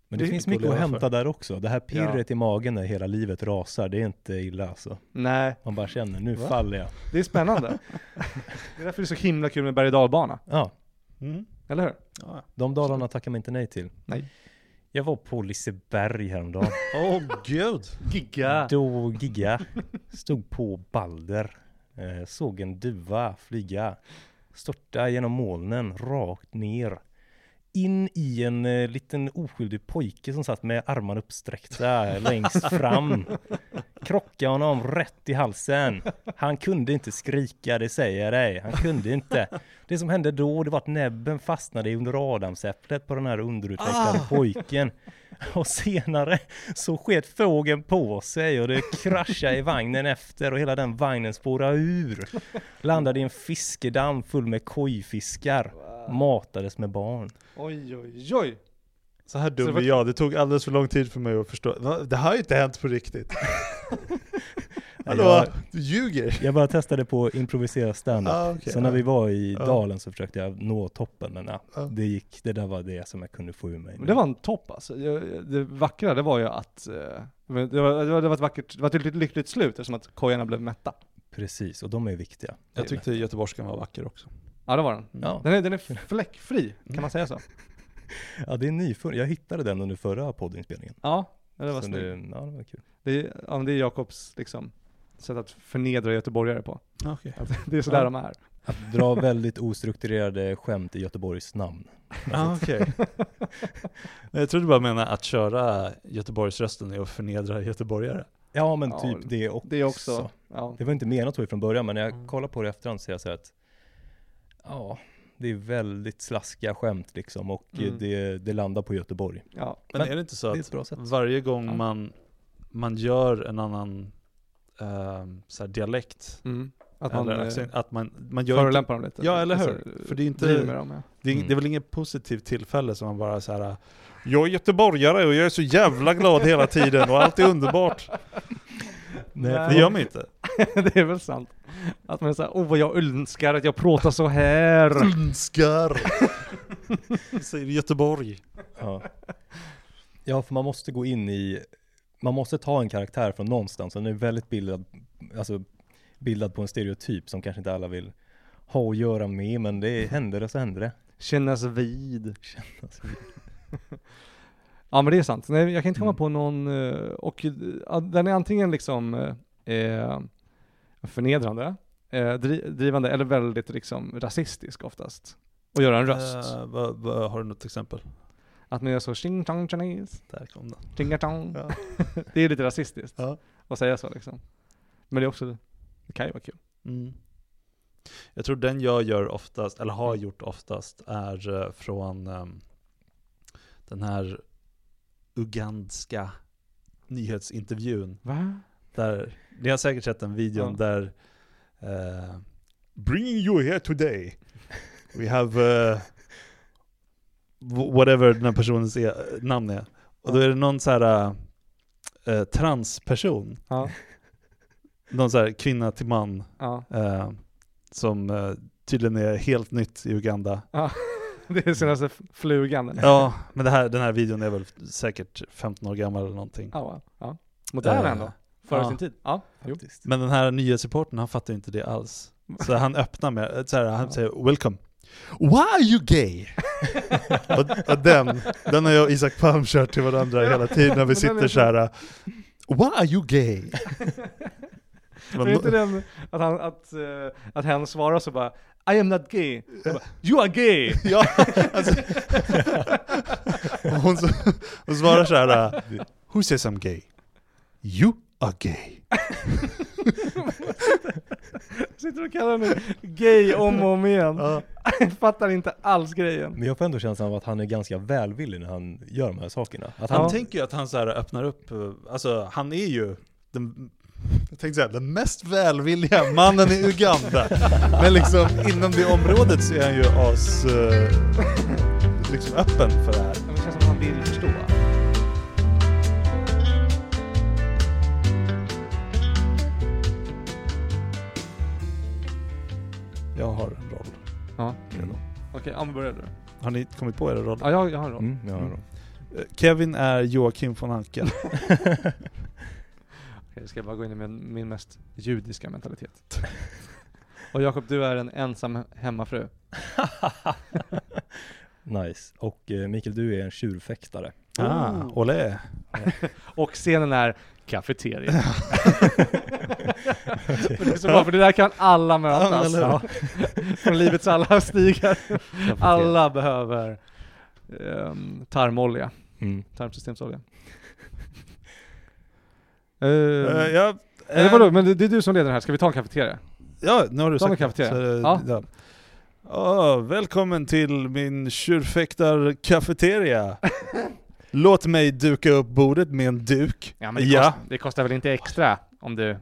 S2: Men det,
S1: Det är
S2: finns
S1: mycket
S2: mycket
S1: att
S2: att
S1: leva
S2: hämta där också. Det här pirret i magen när hela livet rasar, det är inte illa alltså.
S3: Nej,
S2: Man bara känner, nu
S1: Va?
S2: faller jag.
S3: det är spännande. det är därför det är så himla kul med berg och dalbana,
S2: Ja,
S1: Mm.
S3: eller hur?
S1: Ja.
S2: de Dalarna tackar man inte nej till.
S3: Nej.
S2: Jag var på Liseberg häromdagen.
S1: Åh gud!
S3: Giga!
S2: Då gigga stod på Balder. Eh, såg en duva flyga. Störta genom molnen rakt ner. In i en eh, liten oskyldig pojke som satt med armarna uppsträckta längst fram. Krockade honom rätt i halsen. Han kunde inte skrika, det säger jag dig. Han kunde inte. Det som hände då, det var att näbben fastnade under adamsäpplet på den här underutvecklade pojken. Och senare så sket fågeln på sig och det kraschade i vagnen efter och hela den vagnen spårade ur. Landade i en fiskedamm full med kojfiskar. Matades med barn.
S3: Oj, oj, oj!
S1: Så här dum
S3: Så vad-
S1: är jag, det tog alldeles för lång tid för mig att förstå. Va? Det här har ju inte hänt på (laughs) riktigt. Hallå,
S2: Jag,
S1: du ljuger.
S2: jag bara testade på att improvisera standup.
S1: Ah, okej.
S2: Så när vi var i
S1: Ja.
S2: dalen så försökte jag nå toppen men ja,
S1: Ja.
S2: det gick. Det där var det som jag kunde få ur mig.
S3: Men det var en topp alltså. Jag- jag- Det vackra det var ju att eh, det var, det var, det var ett vackert, det var ett lyckligt- lyckligt slut eftersom att kojorna blev mätta.
S2: Precis, och de är viktiga.
S1: Jag tyckte göteborgskan var vacker också.
S3: Ja det var den.
S2: Ja.
S3: Den är, den är fläckfri, kan man säga så?
S2: Ja, det är nyfunnen. Jag hittade den under förra poddinspelningen.
S3: Ja, det var
S2: Så
S3: snyggt.
S2: det, ja, det var kul.
S3: Det är, ja, men det är Jakobs liksom, sätt att förnedra göteborgare på.
S1: Okay.
S3: (laughs) Det är sådär
S1: Ja.
S3: de är.
S2: Att dra väldigt ostrukturerade skämt i Göteborgs namn.
S1: (laughs) Ah, okej. Men jag trodde bara menade att köra Göteborgsrösten är att förnedra göteborgare.
S2: Ja men
S3: Ja,
S2: typ det också.
S3: Det är också, ja.
S2: Det var inte menat så från början men när jag
S1: Mm.
S2: kollar på det i efterhand ser jag så här att ja, det är väldigt slaskiga skämt liksom och eh,
S3: Mm.
S2: det, det landar på Göteborg.
S3: ja.
S1: Men,
S2: Men
S1: är det inte så
S2: Det är
S1: att
S2: ett bra sätt.
S1: varje gång
S3: Ja.
S1: man man gör en annan eh, så här dialekt.
S3: Mm. Att man
S1: Eller alltså,
S3: eh,
S1: accent, att man, man gör inte,
S3: förolämpar dem lite.
S1: Ja, eller hur?
S3: Alltså,
S1: För det är inte-
S3: driver med dem, ja.
S1: det, är,
S2: Mm.
S1: det är väl inget positivt tillfälle som man bara så här. Jag är göteborgare och jag är så jävla glad hela tiden och allt är underbart.
S3: Nej.
S1: Det gör man ju inte.
S3: (laughs) det är väl sant. Att man är såhär, åh vad jag önskar att jag pratar så här.
S1: Önskar! (laughs) Säger Göteborg.
S2: Ja. (laughs) ja, för man måste gå in i, man måste ta en karaktär från någonstans. Den är väldigt bildad, alltså bildad på en stereotyp som kanske inte alla vill ha att göra med, men det händer och så händer det.
S3: Kännas vid.
S2: Kännas
S3: (laughs) Ja men det är sant. Nej, jag kan inte komma
S2: Mm.
S3: på någon, eh, och eh, den är antingen liksom eh, förnedrande, eh, dri- drivande eller väldigt liksom rasistisk oftast. Och göra en röst.
S1: Eh, vad, vad, har du något exempel?
S3: Att man gör så ching chong chinese,
S1: Där kom den.
S3: ching chong.
S1: Ja.
S3: (laughs) Det är lite rasistiskt
S1: Ja.
S3: att säga så liksom. Men det är också, det kan ju vara kul.
S1: Mm. Jag tror den jag gör oftast, eller har gjort oftast, är eh, från ehm, den här ugandska nyhetsintervjun.
S3: Va?
S1: Där, ni har säkert sett den videon
S3: Ja.
S1: där eh, Bringing you here today We have eh, wh- Whatever den här personens e- namn är Och då är det någon så här eh, transperson
S3: Ja.
S1: Någon så här kvinna till man
S3: Ja.
S1: eh, Som eh, tydligen är helt nytt i Uganda
S3: ja. Det är senaste f- flugan. eller?
S1: Ja, men det här, den här videon är väl säkert 15 år gammal eller någonting
S3: Ja. va? ja. Modern
S1: Eh,
S3: ändå. Före
S1: ja.
S3: sin tid. Ja. Jo.
S2: faktiskt.
S1: Men den här nyhetsreportern, han fattar ju inte det alls. Så han öppnar med, så här, han
S3: Ja.
S1: säger 'Welcome' Why are you
S3: (laughs)
S1: gay? och, och den, den har jag och Isak Palm kört till varandra hela
S3: (laughs)
S1: tiden när vi
S3: Men den är
S1: sitter så här. Why are you gay? Det var
S3: Men (laughs) är inte
S1: no-
S3: den att, han, att, eh, att hen svarar så bara I am not gay. Och Bara, you are gay!
S1: (laughs)
S3: (laughs)
S1: ja, alltså, och hon, s- hon svarar
S3: (laughs)
S1: så här. Who says I'm gay? You are gay.
S3: Sitter och kallar mig gay om och om igen. (laughs)
S1: Ja.
S3: Fattar inte alls grejen.
S2: Men jag får ändå känslan av att han är ganska välvillig när han gör de här sakerna. Att
S1: Han
S2: han,
S1: tänker ju att han så här öppnar upp, eh, alltså han är ju den, jag tänkte säga, den mest välvilliga mannen i
S3: (laughs)
S1: Uganda. Men liksom inom det området så är han ju as, eh, liksom öppen för det här.
S3: Men Det känns som att han vill förstå.
S1: Jag har en roll.
S3: Ja.
S2: Mm.
S3: Okej, ja men börja du.
S1: Har ni kommit på era roller?
S3: Ja, jag, jag har en roll.
S2: Mm, ja, då.
S1: Eh, Kevin är Joakim
S3: (laughs)
S1: von Anka.
S3: Okej, ska jag bara gå in i min, min mest judiska mentalitet. (laughs) Och Jakob, du är en ensam hemmafru.
S2: (laughs) nice. Och eh, Mikael, du är en tjurfäktare.
S1: Ah,
S3: Oh.
S1: olé.
S3: Och scenen är
S1: (laughs)
S3: kafeterian. (laughs) För det är så bra, för det där kan alla mötas.
S1: Ja,
S3: Från livets alla stigar. Alla behöver ehm, tarmolja,
S2: Mm.
S3: tarmsystemsolja.
S1: (laughs) Eh,
S3: Ehm,
S1: ja,
S3: Eller vadå, men det, det är du som leder den här, ska vi ta en kafeteria?
S1: Ja, nu har du
S3: Ta mig
S1: sagt det.
S3: kafeteria.
S1: Så, eh,
S3: Ja.
S1: ja. Ja, välkommen till min
S3: (laughs)
S1: tjurfäktarkafeteria. Låt mig duka upp bordet med en duk.
S3: Ja
S1: men det Ja.
S3: Kostar, det kostar väl inte extra om du...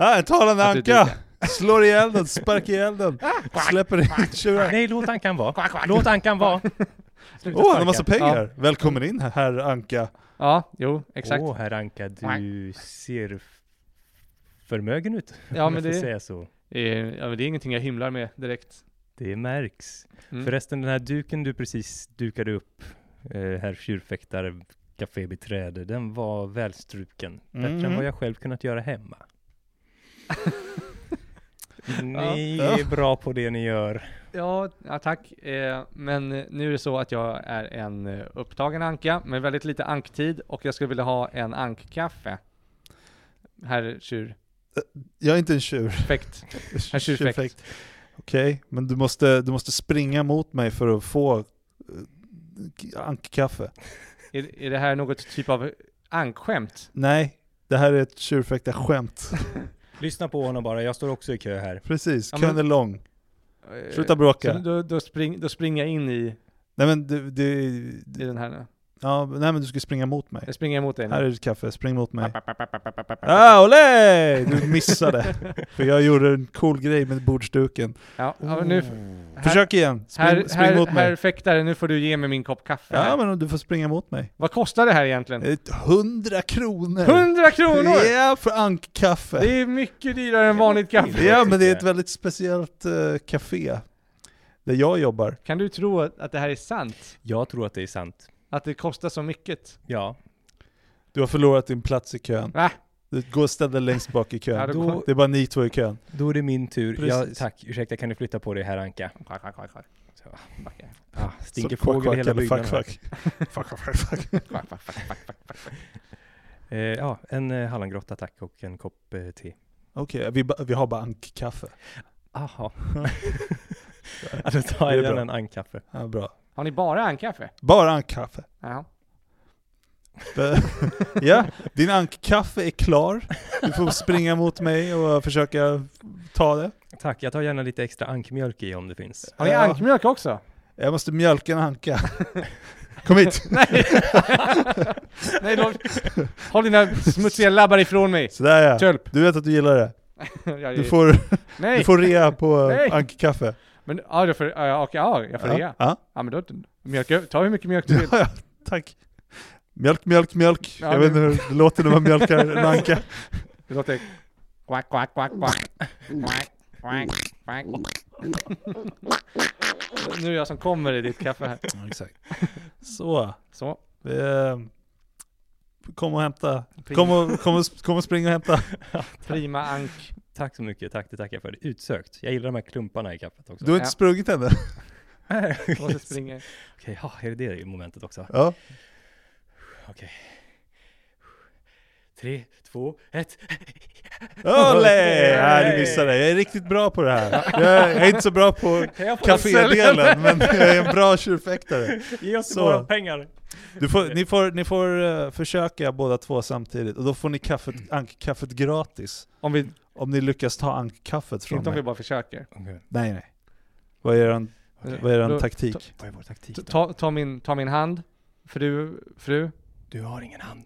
S1: Ah, en talande
S3: Att du
S1: anka! Slår ihjäl den, sparkar
S3: (laughs)
S1: ihjäl den, släpper in tjuren.
S2: Nej, låt Ankan vara. Låt Ankan vara.
S1: Åh, han har massa pengar! Välkommen in herr anka.
S3: Ja, jo, exakt.
S2: Åh, herr Anka, du ser f- förmögen ut.
S3: ja,
S2: om
S3: men
S2: jag
S3: det,
S2: får säga så.
S3: är, ja, men det är ingenting jag hymlar med direkt.
S2: Det märks.
S3: Mm.
S2: Förresten, den här duken du precis dukade upp, eh, herr tjurfäktare, kafébiträde, den var välstruken. Bättre
S1: Mhm.
S2: än vad jag själv kunnat göra hemma. (laughs) ni
S1: Ja.
S2: är bra på det ni gör.
S3: Ja, ja tack. Eh, men nu är det så att jag är en eh, upptagen anka med väldigt lite anktid och jag skulle vilja ha en ankkaffe. Herr
S1: Jag är inte en tjur.
S3: tjurfäkt. Herr tjurfäkt.
S1: Tjurfäkt. Okej, men du måste, du måste springa mot mig för att få eh, ankkaffe.
S3: Är, är det här något typ av ankskämt?
S1: Nej, det här är ett tjurfäktarskämt.
S2: Lyssna på honom bara, jag står också i kö här.
S1: Precis,
S3: Ja,
S1: kön
S3: men-
S1: är lång.
S3: Eh,
S1: Sluta
S3: Så
S1: bråka.
S3: då, då, spring, då springer jag in i,
S1: Nej men du, du,
S3: i den här nu.
S1: Ja, nej men du ska springa mot mig.
S3: Jag springer emot dig
S1: Här
S3: nu.
S1: är ditt kaffe, spring mot mig. Ah,
S3: Ja,
S1: olé! Du missade. För jag gjorde en cool grej med bordsduken.
S3: (laughs) ja, men nu, här,
S1: Oh. Försök igen, spring,
S3: här,
S1: spring
S3: här,
S1: mot
S3: här
S1: mig.
S3: fäktar nu får du ge mig min kopp kaffe.
S1: Ja
S3: här.
S1: men du får springa mot mig.
S3: Vad kostar det här egentligen?
S1: Ett Hundra kronor!
S3: 100 kronor!
S1: Ja, för ankkaffe.
S3: Det är mycket dyrare än vanligt kaffe.
S1: Ja men eh. det är ett väldigt speciellt eh, café. Där jag jobbar.
S3: Kan du tro att att det här är sant?
S2: Jag tror att det är sant.
S3: Att det kostar så mycket?
S2: Ja,
S1: Du har förlorat din plats i kön.
S3: Va?
S1: Du går och ställer dig längst bak i
S3: Ja,
S1: kön.
S3: då-
S1: Det är bara ni två i kön.
S2: då är det min tur. Ja,
S1: Precis.
S2: tack, ursäkta kan du flytta på dig här Anka? Så. Ah, stinker
S1: Så, quack,
S2: fågel i
S1: quack,
S2: hela alltså.
S1: eller
S2: byggnaden. här.
S1: Fuck, (laughs) fuck. fuck, fuck, fuck, fuck.
S2: Eh, ja, en eh, hallongrotta tack och en kopp eh, te.
S1: Okej, vi, ba- vi har bara ankkaffe.
S2: Aha. (laughs) ja, då tar jag
S1: Det är
S2: gärna
S1: bra.
S2: en ankkaffe.
S1: Ja, bra.
S3: Har ni bara ankaffe?
S1: Bara ankkaffe. (laughs)
S3: Ja.
S1: Be- ja, din ankkaffe är klar. Du får springa mot mig och försöka ta det.
S2: Tack, jag tar gärna lite extra ankmjölk i om det finns.
S3: Har ni
S1: Ja.
S3: ankmjölk
S1: (laughs)
S3: också?
S1: Jag måste mjölka en anka. (laughs) Kom hit!
S3: Nej! (laughs) Nej, låt, håll dina smutsiga labbar ifrån mig!
S1: Sådär ja.
S3: Tölp!
S1: Du vet att du gillar det.
S3: Jag-
S1: Du får,
S3: Nej!
S1: du får rea på
S3: Nej.
S1: ankkaffe.
S3: Men, ja, jag får, ja, okej, ja, jag får rea.
S1: Ja. ja.
S3: Ja, men då, mjölk, ta hur mycket mjölk du
S1: Ja,
S3: vill.
S1: (laughs) ja, tack. Mjölk, mjölk, mjölk.
S3: Ja,
S1: jag
S3: det-
S1: vet inte hur det låter när man mjölkar en anka.
S3: Det låter... Quack, quack, quack, quack. Quack, quack, quack. Nu är jag som kommer i ditt kaffe här.
S1: Exakt. (laughs) Så.
S3: Så.
S1: Eh, Kom och hämta. Kom och, kom, och, kom och spring och hämta.
S3: Prima ank.
S2: Tack så mycket, tack, det tackar jag för. Det är utsökt. Jag gillar de här klumparna i kaffet (laughs) också.
S1: Du har inte
S3: Ja.
S1: sprungit ännu.
S3: Jag måste springa.
S2: Okej, ja, är det det i momentet också?
S1: Ja.
S2: Tre, två, ett.
S1: Olé! Nej, du missade. Jag är riktigt bra på det här. Jag är, jag är inte så bra på
S2: Kan jag få
S1: kafédelen, men jag är en bra tjurfäktare.
S2: Ge oss
S1: Så.
S2: våra pengar!
S1: Du får, ni får, ni får eh, försöka båda två samtidigt, och då får ni kaffet, ankkaffet gratis.
S3: Om vi,
S1: Om ni lyckas ta ankkaffet från
S3: inte om
S1: mig.
S3: vi bara försöker.
S2: Okej,
S1: Nej, nej. Vad är eran,
S2: okej.
S1: vad är eran
S3: Då- ta-
S1: taktik?
S2: Vad är vår taktik?
S3: Ta-
S2: då?
S3: Ta, ta, min, ta min hand. Fru, fru.
S2: Du har ingen hand.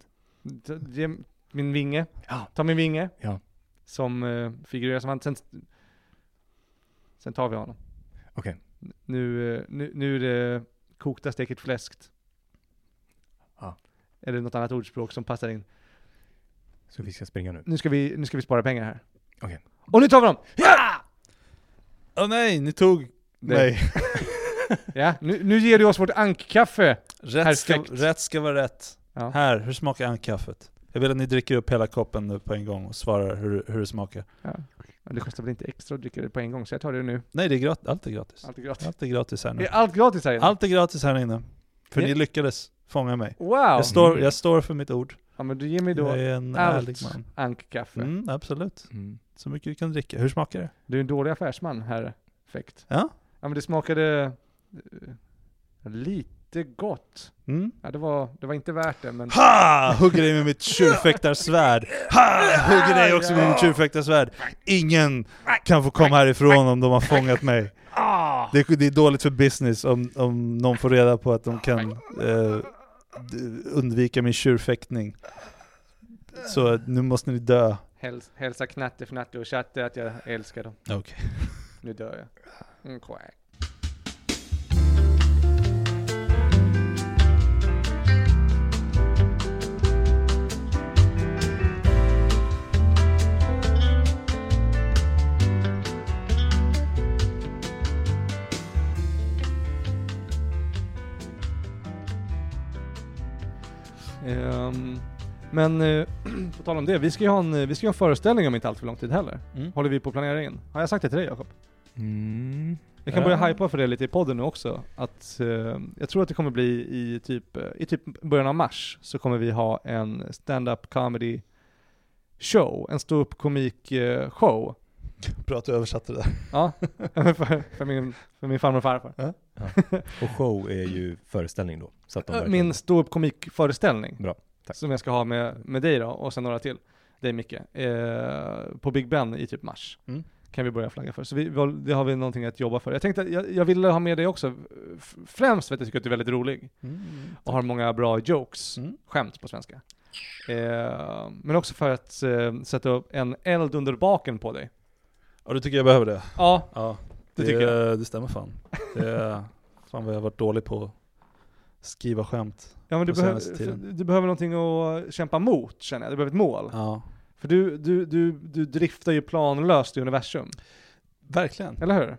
S3: Ta- Ge min vinge.
S2: Ja.
S3: Ta min vinge.
S2: Ja.
S3: Som eh, figurerar som han. Sen, sen tar vi honom.
S2: Okej.
S3: Nu, eh, nu, nu är det kokta steket fläskt.
S2: Ja.
S3: Eller något annat ordspråk som passar in.
S2: Så vi ska springa nu.
S3: Nu ska vi, nu ska vi spara pengar här.
S2: Okej.
S3: Och nu tar vi dem!
S1: Åh nej, ni tog
S3: Nej.
S1: mig.
S3: Ja, nu, nu ger du oss vårt ankkaffe.
S1: Rätt ska,
S3: Perfekt.
S1: rätt ska vara rätt.
S3: Ja.
S1: Här, hur smakar ankkaffet? Jag vill att ni dricker upp hela koppen nu på en gång och svarar hur, hur det smakar.
S3: Men det kostar väl inte extra att dricka det på en gång, så jag tar det nu.
S1: Nej, det är gratis. Allt är gratis.
S3: Allt är gratis.
S1: Allt är gratis här
S3: Det
S1: nu.
S3: är allt gratis här inne.
S1: Allt är gratis här inne. För
S3: Ja.
S1: ni lyckades fånga mig.
S3: Wow!
S1: Jag står, jag står för mitt ord.
S3: Ja men du ger mig då
S1: Jag är en ärlig
S3: allt
S1: man.
S3: ankkaffe.
S1: Mm, absolut.
S2: Mm.
S1: Så mycket du kan dricka. Hur smakar det?
S3: Du är en dålig affärsman, herr Fäkt.
S1: Ja.
S3: Ja men det smakade eh, lite gott.
S1: Mm.
S3: Ja det var, det var inte värt det men...
S1: Ha! Hugger dig med mitt tjurfäktarsvärd. Ha! Hugger dig också med mitt tjurfäktarsvärd. Ingen kan få komma härifrån om de har fångat mig. Det är, det är dåligt för business om, om någon får reda på att de kan eh, d- undvika min tjurfäktning. Så nu måste ni dö.
S3: Häls, hälsa Knatte, Fnatte och Tjatte att jag älskar dem.
S1: Okej.
S3: Nu dör jag. Mm, quack. Ehm, men eh, på tal om det, vi ska ju ha en, vi ska ju ha en föreställning om inte allt för lång tid heller. Håller vi på att planera in? Har jag sagt det till dig Jakob?
S2: Mm.
S3: Jag kan börja
S1: Ja.
S3: hypa för det lite i podden nu också. Att, eh, jag tror att det kommer bli i typ, eh, i typ början av mars så kommer vi ha en stand-up comedy show, en ståupp komik eh, show.
S1: Bra att du översatte det där.
S3: Ja, (laughs) för, för, min, för min farmor och farfar.
S2: Och show är ju föreställning då. Så att de verkligen-
S3: Min ståupp komik föreställning.
S2: Bra, tack.
S3: Som jag ska ha med, med dig då och sen några till. Dig Micke. Eh, på Big Ben i typ mars.
S1: Mm.
S3: kan vi börja flagga för. Så vi, val- det har vi någonting att jobba för. Jag tänkte, att jag, jag ville ha med dig också, f- främst för att jag tycker att du är väldigt rolig och har många bra jokes,
S1: Mm.
S3: skämt på svenska. Eh, men också för att eh, sätta upp en eld under baken på dig.
S1: Ja, du tycker jag behöver det?
S3: Ja,
S1: Ja,
S3: det tycker jag.
S1: jag. Det stämmer fan. Det är, fan vad jag har varit dålig på att skriva skämt.
S3: Ja, men du,
S1: på
S3: behöver-
S1: senaste
S3: för,
S1: tiden.
S3: du behöver någonting att kämpa mot känner jag, du behöver ett mål.
S1: Ja,
S3: För du, du, du, du driftar ju planlöst i universum,
S1: verkligen.
S3: eller hur?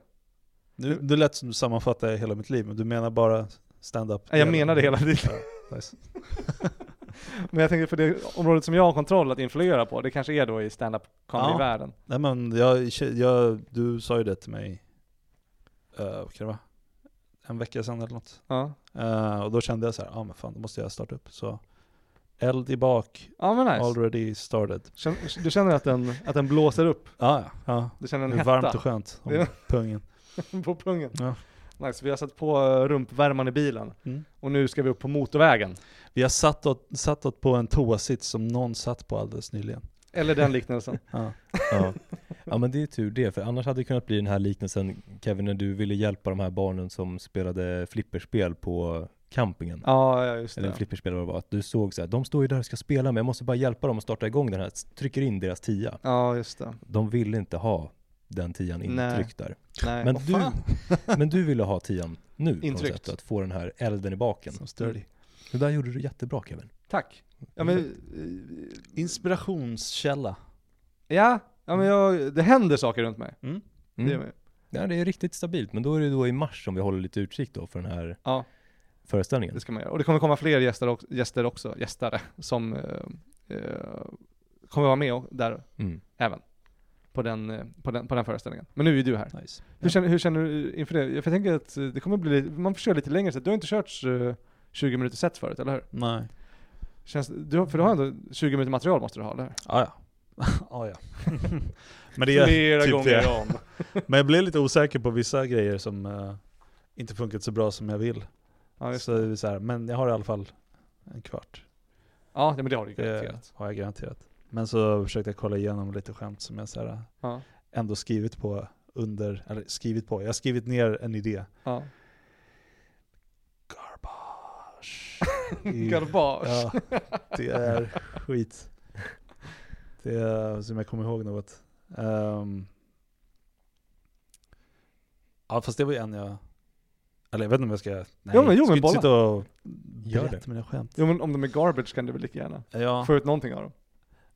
S1: Du, du lät som du sammanfattade hela mitt liv, men du menar bara stand-up?
S3: Ja, jag menar det hela tiden.
S1: Ja, nice.
S3: Men jag tänker för det området som jag har kontroll att influera på, det kanske är då i stand-up comedy-världen.
S1: Nej men jag, jag, du sa ju det till mig, eh, vad kan det vara? En vecka sedan eller något.
S3: Ja.
S1: Eh, och då kände jag så här, ja ah, men fan då måste jag starta upp. Så eld i bak,
S3: ja, men nice.
S1: already started.
S3: Känn- Du känner att den, att den blåser upp,
S1: Ah, ja, ja.
S3: du känner
S1: Det
S3: en
S1: är varmt och
S3: hetta
S1: skönt om
S3: Det-
S1: pungen.
S3: (laughs) på pungen.
S1: Ja.
S3: Nice, vi har satt på eh, rumpvärmaren i bilen
S1: Mm.
S3: och nu ska vi upp på motorvägen.
S1: Vi har satt, åt, satt åt på en toasits som någon satt på alldeles nyligen.
S3: Eller den liknelsen.
S1: Ja.
S2: Ja. ja men det är tur det, för annars hade det kunnat bli den här liknelsen Kevin när du ville hjälpa de här barnen som spelade flipperspel på campingen.
S3: (laughs) ja, ja, just
S2: Eller
S3: det.
S2: flipperspel vad det var, att du såg så här, de står ju där och ska spela men jag måste bara hjälpa dem att starta igång den här, trycker in deras tia.
S3: Ja, just det.
S2: De ville inte ha den tian
S3: Nej.
S2: intryckt där.
S3: Nej.
S2: Men
S1: Vad
S2: du,
S1: fan?
S2: men du ville ha tian nu på något
S3: Intryckt.
S2: sätt, att få den här elden i baken.
S1: Som sturdy.
S2: Det där gjorde du jättebra Kevin.
S3: Tack. Ja, men, eh,
S1: Inspirationskälla.
S3: ja, ja, men jag, det händer saker runt mig. Det gör
S2: Mm.
S3: mig.
S2: Ja, det är riktigt stabilt, men då är det då i mars som vi håller lite utkik då för den här
S3: Ja.
S2: föreställningen.
S3: Det ska man göra. Och det kommer komma fler gäster, ox- gäster också, gästare, som eh, eh, kommer vara med och, där
S2: Mm.
S3: även. På den, eh, på, den, på den föreställningen. Men nu är du här.
S1: Nice.
S3: Hur, känner, hur känner du inför det? Jag tänker att eh, det kommer bli, lite- man får köra lite längre set. Du har inte kört eh, 20 minuter set förut, eller hur?
S1: Nej.
S3: Känns, du, har- för du har ändå 20 minuter material måste du ha, eller hur? (laughs)
S1: Ah, ja. ah, ja. (laughs) Men det är
S3: Flera
S1: typ det.
S3: om.
S1: Men jag blev lite osäker på vissa grejer som eh, inte funkat så bra som jag vill.
S3: Ja, just.
S1: så det är så här, men jag har i alla fall en kvart.
S3: ja, men det har du ju
S1: Det
S3: garanterat.
S1: har jag garanterat. Men så försökte jag kolla igenom lite skämt som jag så här,
S3: Ja.
S1: ändå skrivit på under, eller skrivit på, jag har skrivit ner en idé.
S3: Ja. (laughs)
S1: Garbage.
S3: Garbage.
S1: Ja,
S3: (laughs)
S1: det är skit. Det är, som jag kommer ihåg något. Um, ja fast det var ju en jag, eller jag vet inte om jag ska, nej,
S3: Jo, men- jo,
S1: jag ska
S3: men
S1: inte
S3: bolla.
S1: sitta och
S2: Gör
S1: berätta mina skämt.
S3: Jo men om de är garbage kan du väl lika gärna
S1: Ja,
S3: få ut någonting av dem?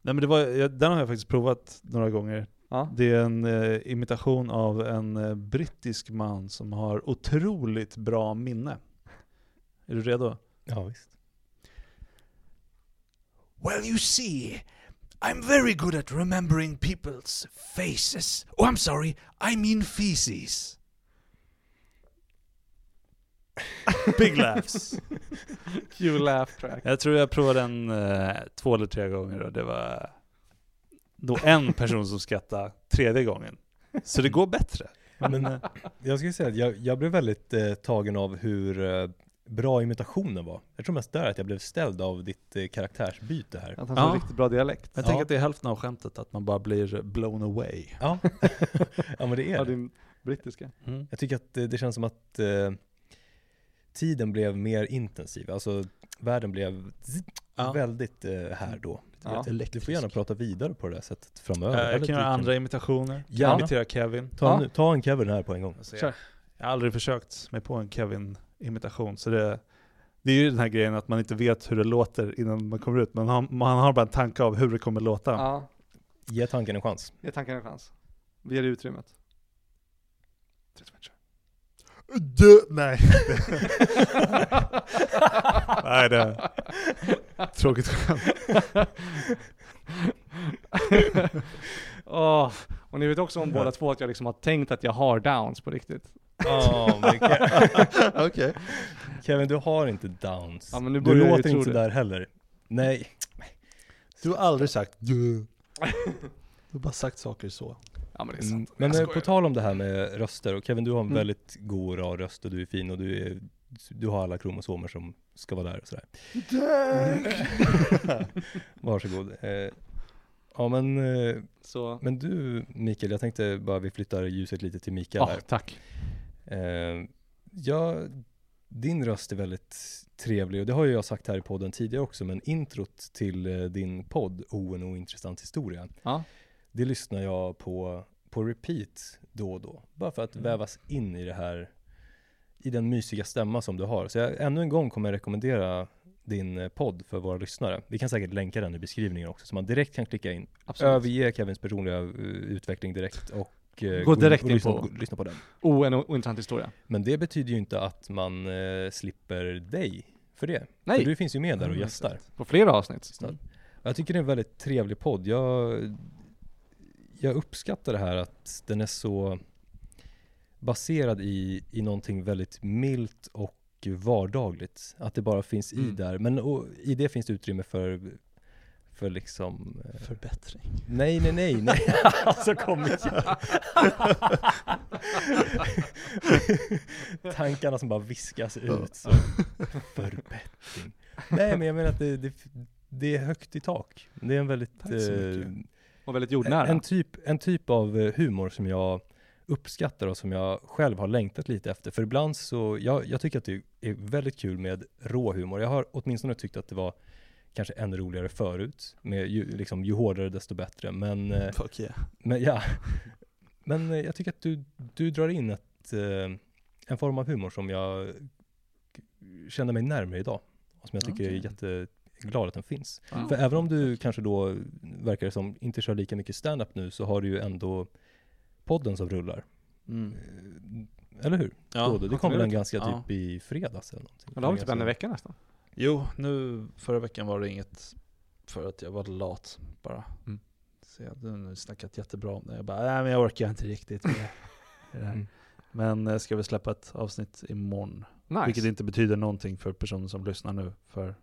S1: nej men det var, jag, den har jag faktiskt provat några gånger.
S3: Ja.
S1: Det är en eh, imitation av en eh, brittisk man som har otroligt bra minne. Är du redo?
S2: Ja, visst.
S6: Well, you see, I'm very good at remembering people's faces. Oh, I'm sorry, I mean feces.
S1: (laughs) Big laughs.
S3: Kul laugh track.
S1: Jag tror jag provade den eh, två eller tre gånger och det var då en person som skrattade tredje gången. Så det går bättre.
S2: Men eh, jag skulle säga att jag, jag blev väldigt eh, tagen av hur eh, bra imitationen var. Jag tror mest där att jag blev ställd av ditt eh, karaktärsbyte här.
S3: Att han har
S1: Ja.
S3: riktigt bra dialekt.
S1: Jag
S2: Ja.
S1: tänker att det är hälften av skämtet, att man bara blir blown away.
S2: (laughs) Ja, ja men det
S3: Ja,
S2: är det.
S3: din brittiska.
S1: Mm.
S2: Jag tycker att eh, det känns som att eh, tiden blev mer intensiv. Alltså världen blev zzz,
S1: Ja.
S2: väldigt eh, här då.
S3: Ja.
S2: Lite elektrisk. Du får gärna prata vidare på det där sättet
S1: Eh,
S2: framöver. Eller
S1: jag
S2: du
S1: kan göra andra imitationer.
S2: Gärna.
S1: Jag imiterar Kevin.
S2: Ta,
S3: Ja.
S2: en, ta en Kevin här på en gång.
S1: Alltså,
S3: Kör.
S1: jag, jag har aldrig försökt mig på en Kevin-imitation, så det, det är ju den här grejen att man inte vet hur det låter innan man kommer ut. Man har, man har bara en tanke av hur det kommer låta.
S3: Ja,
S2: Ge tanken en chans.
S3: ge tanken en chans. Vi ger dig utrymmet. 30 (laughs) minuter.
S1: Du, (laughs) nej. nej, det är tråkigt skämt.
S3: Åh, och ni vet också om båda två att jag liksom har tänkt att jag har downs på riktigt.
S2: Ja, men Ke-
S1: (laughs) Okej.
S2: Oh Kevin, du har inte downs.
S3: Ja, men nu
S2: du
S3: börjar jag ju
S2: låter
S3: tro
S2: inte
S3: det.
S2: sådär heller. Nej.
S1: Du har aldrig sagt du. Du har bara sagt saker så.
S3: Ja men det är
S2: Mm,
S3: sant.
S2: Men
S3: Jag
S2: eh,
S3: skojar.
S2: på tal om det här med röster, och Kevin du har en
S3: Mm.
S2: väldigt god och rar röst och du är fin och du, är, du har alla kromosomer som (laughs) ska vara där och sådär. Varsågod. Eh, Ja men, eh,
S3: Så,
S2: men du Mikael, jag tänkte bara vi flyttar ljuset lite till Mikael
S3: ja,
S2: här.
S3: tack.
S2: Eh, ja, din röst är väldigt trevlig och det har ju jag sagt här i podden tidigare också, men introt till eh, din podd O en ointressant historia,
S3: Ja.
S2: det lyssnar jag på på repeat då och då. Bara för att
S3: Mm.
S2: vävas in i det här, i den mysiga stämma som du har. Så jag, ännu en gång kommer jag rekommendera din eh, podd för våra lyssnare. Vi kan säkert länka den i beskrivningen också, så man direkt kan klicka in.
S3: Absolut.
S2: Överge Kevins personliga eh, utveckling direkt och eh,
S3: Gå direkt in
S2: lyssna,
S3: på-
S2: gå- lyssna på den.
S3: O, Oh, en o- ointressant historia.
S2: Men det betyder ju inte att man eh, slipper dig för det.
S3: Nej.
S2: För du finns ju med där och
S3: Mm,
S2: gästar.
S3: På flera avsnitt.
S2: Mm. Jag tycker det är en väldigt trevlig podd. Jag, jag uppskattar det här att den är så baserad i, i någonting väldigt milt och vardagligt. Att det bara finns i
S3: Mm.
S2: där. Men och, i det finns det utrymme för, för liksom... eh,
S1: Förbättring.
S2: Nej, nej, nej,
S1: (laughs)
S2: nej. alltså kom igen. (laughs) Tankarna som bara viskas ut. Så. Förbättring. Nej, men jag menar att det, det, det är högt i tak. Det är en väldigt...
S1: Tack så
S2: eh,
S3: Och väldigt
S2: en,
S3: jordnära.
S2: en, typ, en typ av eh, humor som jag uppskattar och som jag själv har längtat lite efter. För ibland så, jag, jag tycker att det är väldigt kul med rå humor. Jag har åtminstone tyckt att det var kanske ännu roligare förut. Med ju, liksom, ju hårdare desto bättre. Men eh,
S1: Fuck yeah.
S2: men ja, men eh, jag tycker att du, du drar in ett, eh, en form av humor som jag känner mig närmare idag. Och som jag tycker är jätteglad att den finns.
S3: Ja.
S2: För även om du kanske då, verkar det som, inte kör lika mycket stand-up nu så har du ju ändå podden som rullar.
S1: Mm.
S2: Eh, Eller hur?
S1: Ja,
S2: Då, då. Det kom väl en
S1: absolut.
S2: ganska
S1: Ja.
S2: typ i fredags eller någonting.
S3: Men det har vi typ en vecka nästan.
S1: Jo, nu förra veckan var det inget för att jag var lat bara.
S3: Mm.
S1: Så jag hade nu snackat jättebra om det. Jag bara, nej men jag orkar inte riktigt med det här.
S2: Mm.
S1: Men jag ska väl släppa ett avsnitt imorgon.
S3: Nice. Mm.
S1: Vilket inte betyder någonting för personer som lyssnar nu. För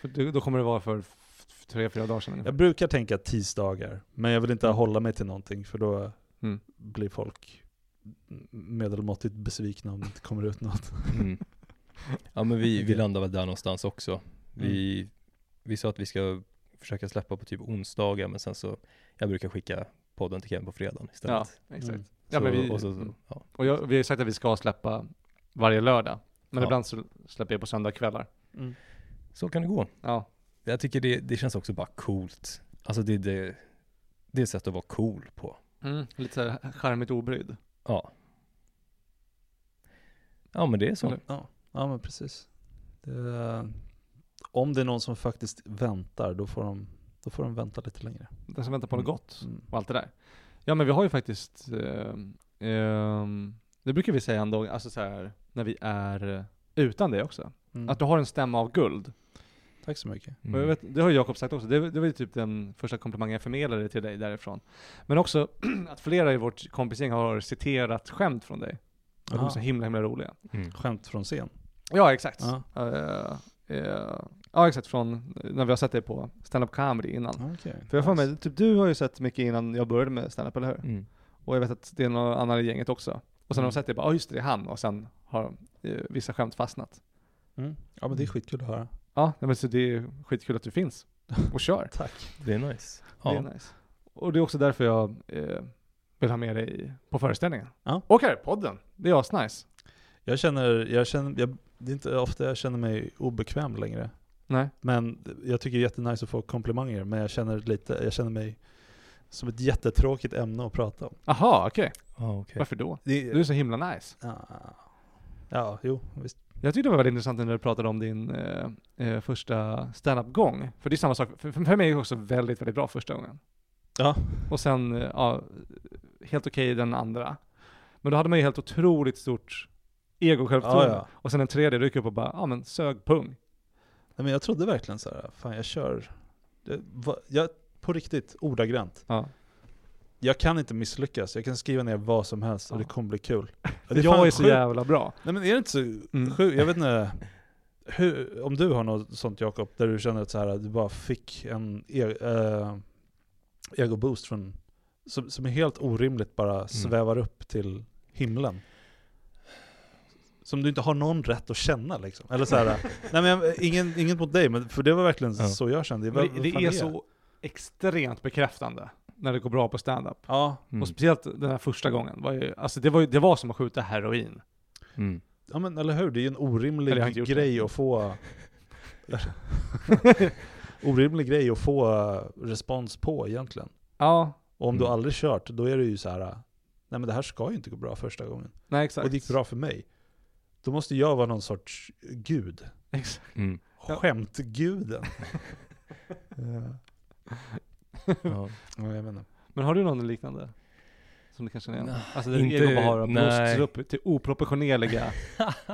S3: För du- Då kommer det vara för f- f- tre, fyra dagar sedan
S1: jag
S3: ungefär.
S1: brukar tänka tisdagar, men jag vill inte hålla mig till någonting för då
S3: Mm.
S1: blir folk medelmåttigt besvikna om det inte kommer
S3: (laughs)
S1: ut något.
S2: Mm. Ja men vi, vi landar väl där någonstans också. Vi,
S3: Mm.
S2: vi sa att vi ska försöka släppa på typ onsdagar men sen så, jag brukar skicka podden till Kevin på fredagen
S3: Ja,
S2: istället.
S3: exakt.
S1: Mm.
S3: Ja,
S2: så,
S3: men vi,
S2: och så,
S3: mm.
S2: ja.
S3: och jag, vi har sagt att vi ska släppa varje lördag. Men
S2: Ja.
S3: ibland så släpper jag på söndagkvällar.
S2: så kan det gå.
S3: Ja.
S2: Jag tycker det, det känns också bara coolt. Alltså det, det, det är ett sätt att vara cool på.
S3: Mm, Lite såhär charmigt obrydd.
S2: Ja. Ja men det är så.
S3: Eller-
S1: Ja, ja men precis. Det, om det är någon som faktiskt väntar, då får de, då får de vänta lite längre.
S3: Den som väntar på något
S1: Mm.
S3: gott
S1: Mm.
S3: och allt det där. Ja men vi har ju faktiskt, ehm, ehm, det brukar vi säga ändå, alltså så här när vi är eh, utan det också.
S1: Mm.
S3: Att du har en stämma av guld.
S1: Tack så mycket.
S2: Mm.
S3: Och jag vet, det har ju Jakob sagt också, det, var- det var ju typ den första komplimangen jag förmedlade till dig därifrån. Men också (clears throat) att flera i vårt kompisgäng har citerat skämt från dig. Och de är
S1: Aha.
S3: så himla himla roliga.
S2: Mm.
S1: Skämt från scen.
S3: Ja exakt.
S1: Ja.
S3: Eh, eh, ja exakt, från när vi har sett dig på stand-up comedy innan.
S1: Okay.
S3: För jag har för mig, typ du har ju sett mycket innan jag började med stand-up, eller hur?
S2: Mm.
S3: Och jag vet att det är någon annan i gänget också. Och sen har
S1: Mm.
S3: de sett det, bara, ja just det, det är han. Och sen har eh, vissa skämt fastnat.
S1: Mm. Ja men det är skitkul att höra.
S3: Ja, nej, men så det är skitkul att du finns. Och kör.
S2: Det är nice.
S3: Det
S2: Ja.
S3: är nice. Och det är också därför jag eh, vill ha med dig i- på föreställningen.
S1: Ja.
S3: Och här i podden. Det är asnice.
S1: Jag känner, jag känner jag, det är inte ofta jag känner mig obekväm längre.
S3: Nej.
S1: Men jag tycker det är jättenice att få komplimanger, men jag känner, lite, jag känner mig som ett jättetråkigt ämne att prata om.
S3: Aha, okej.
S2: Ja, okej.
S3: Varför då?
S1: Det,
S3: Du är så himla nice.
S1: ja, ja, jo, visst.
S3: Jag tyckte det var väldigt intressant när du pratade om din eh, eh, första standup-gång. För det är samma sak. För, för mig är det också väldigt, väldigt bra första gången.
S1: Ja.
S3: Och sen, eh, ja, helt okej den andra. Men då hade man ju helt otroligt stort ego
S1: Ja,
S3: självförtroende.
S1: ja.
S3: Och sen den tredje, då gick jag upp och bara, ja men sög pung.
S1: Nej, men jag trodde verkligen så här, fan jag kör, det, va, jag, på riktigt, ordagrant.
S3: Ja.
S1: Jag kan inte misslyckas, jag kan skriva ner vad som helst och
S3: Ja.
S1: det kommer bli kul.
S3: För
S1: det är
S3: jag
S1: fan
S3: är så
S1: sjukt.
S3: jävla bra.
S1: Nej men är det inte så
S3: Mm.
S1: sjukt? Jag vet inte, hur, om du har något sånt Jakob, där du känner att så här, du bara fick en e- eh, ego-boost från, som, som är helt orimligt
S3: Mm.
S1: bara svävar upp till himlen. Som du inte har någon rätt att känna liksom.
S3: (laughs)
S1: Eller så här, nej men jag- ingen, inget mot dig, men för det var verkligen
S2: Ja.
S1: så jag kände.
S3: Men
S1: Vad-
S3: det,
S1: vad
S3: det
S1: fan
S3: är
S1: jag?
S3: så extremt bekräftande när det går bra på stand-up.
S1: Ja,
S2: Mm.
S3: Och speciellt den här första gången. Var ju, alltså det, var ju, det var som att skjuta heroin.
S2: Mm.
S1: ja men eller hur? Det är ju en
S3: Eller jag har inte
S1: orimlig
S3: gjort
S1: grej att få... orimlig grej att få eh, respons på egentligen.
S3: Ja,
S1: Och om du
S2: Mm.
S1: aldrig kört, då är det ju så här. eh, Nej men det här ska ju inte gå bra första gången.
S3: nej exakt.
S1: Och det gick bra för mig. Då måste jag vara någon sorts gud.
S3: (laughs) Exakt.
S2: Mm.
S3: Ja.
S1: Skämtguden. ja.
S3: (laughs)
S2: Ja.
S1: ja, jag vet inte.
S3: Men har du någon liknande? Som du kanske känner igen?
S2: Nej,
S3: Alltså det
S2: inte-
S3: ego bara har
S2: nej.
S3: blåsts upp till
S2: (laughs)
S3: oproportionerliga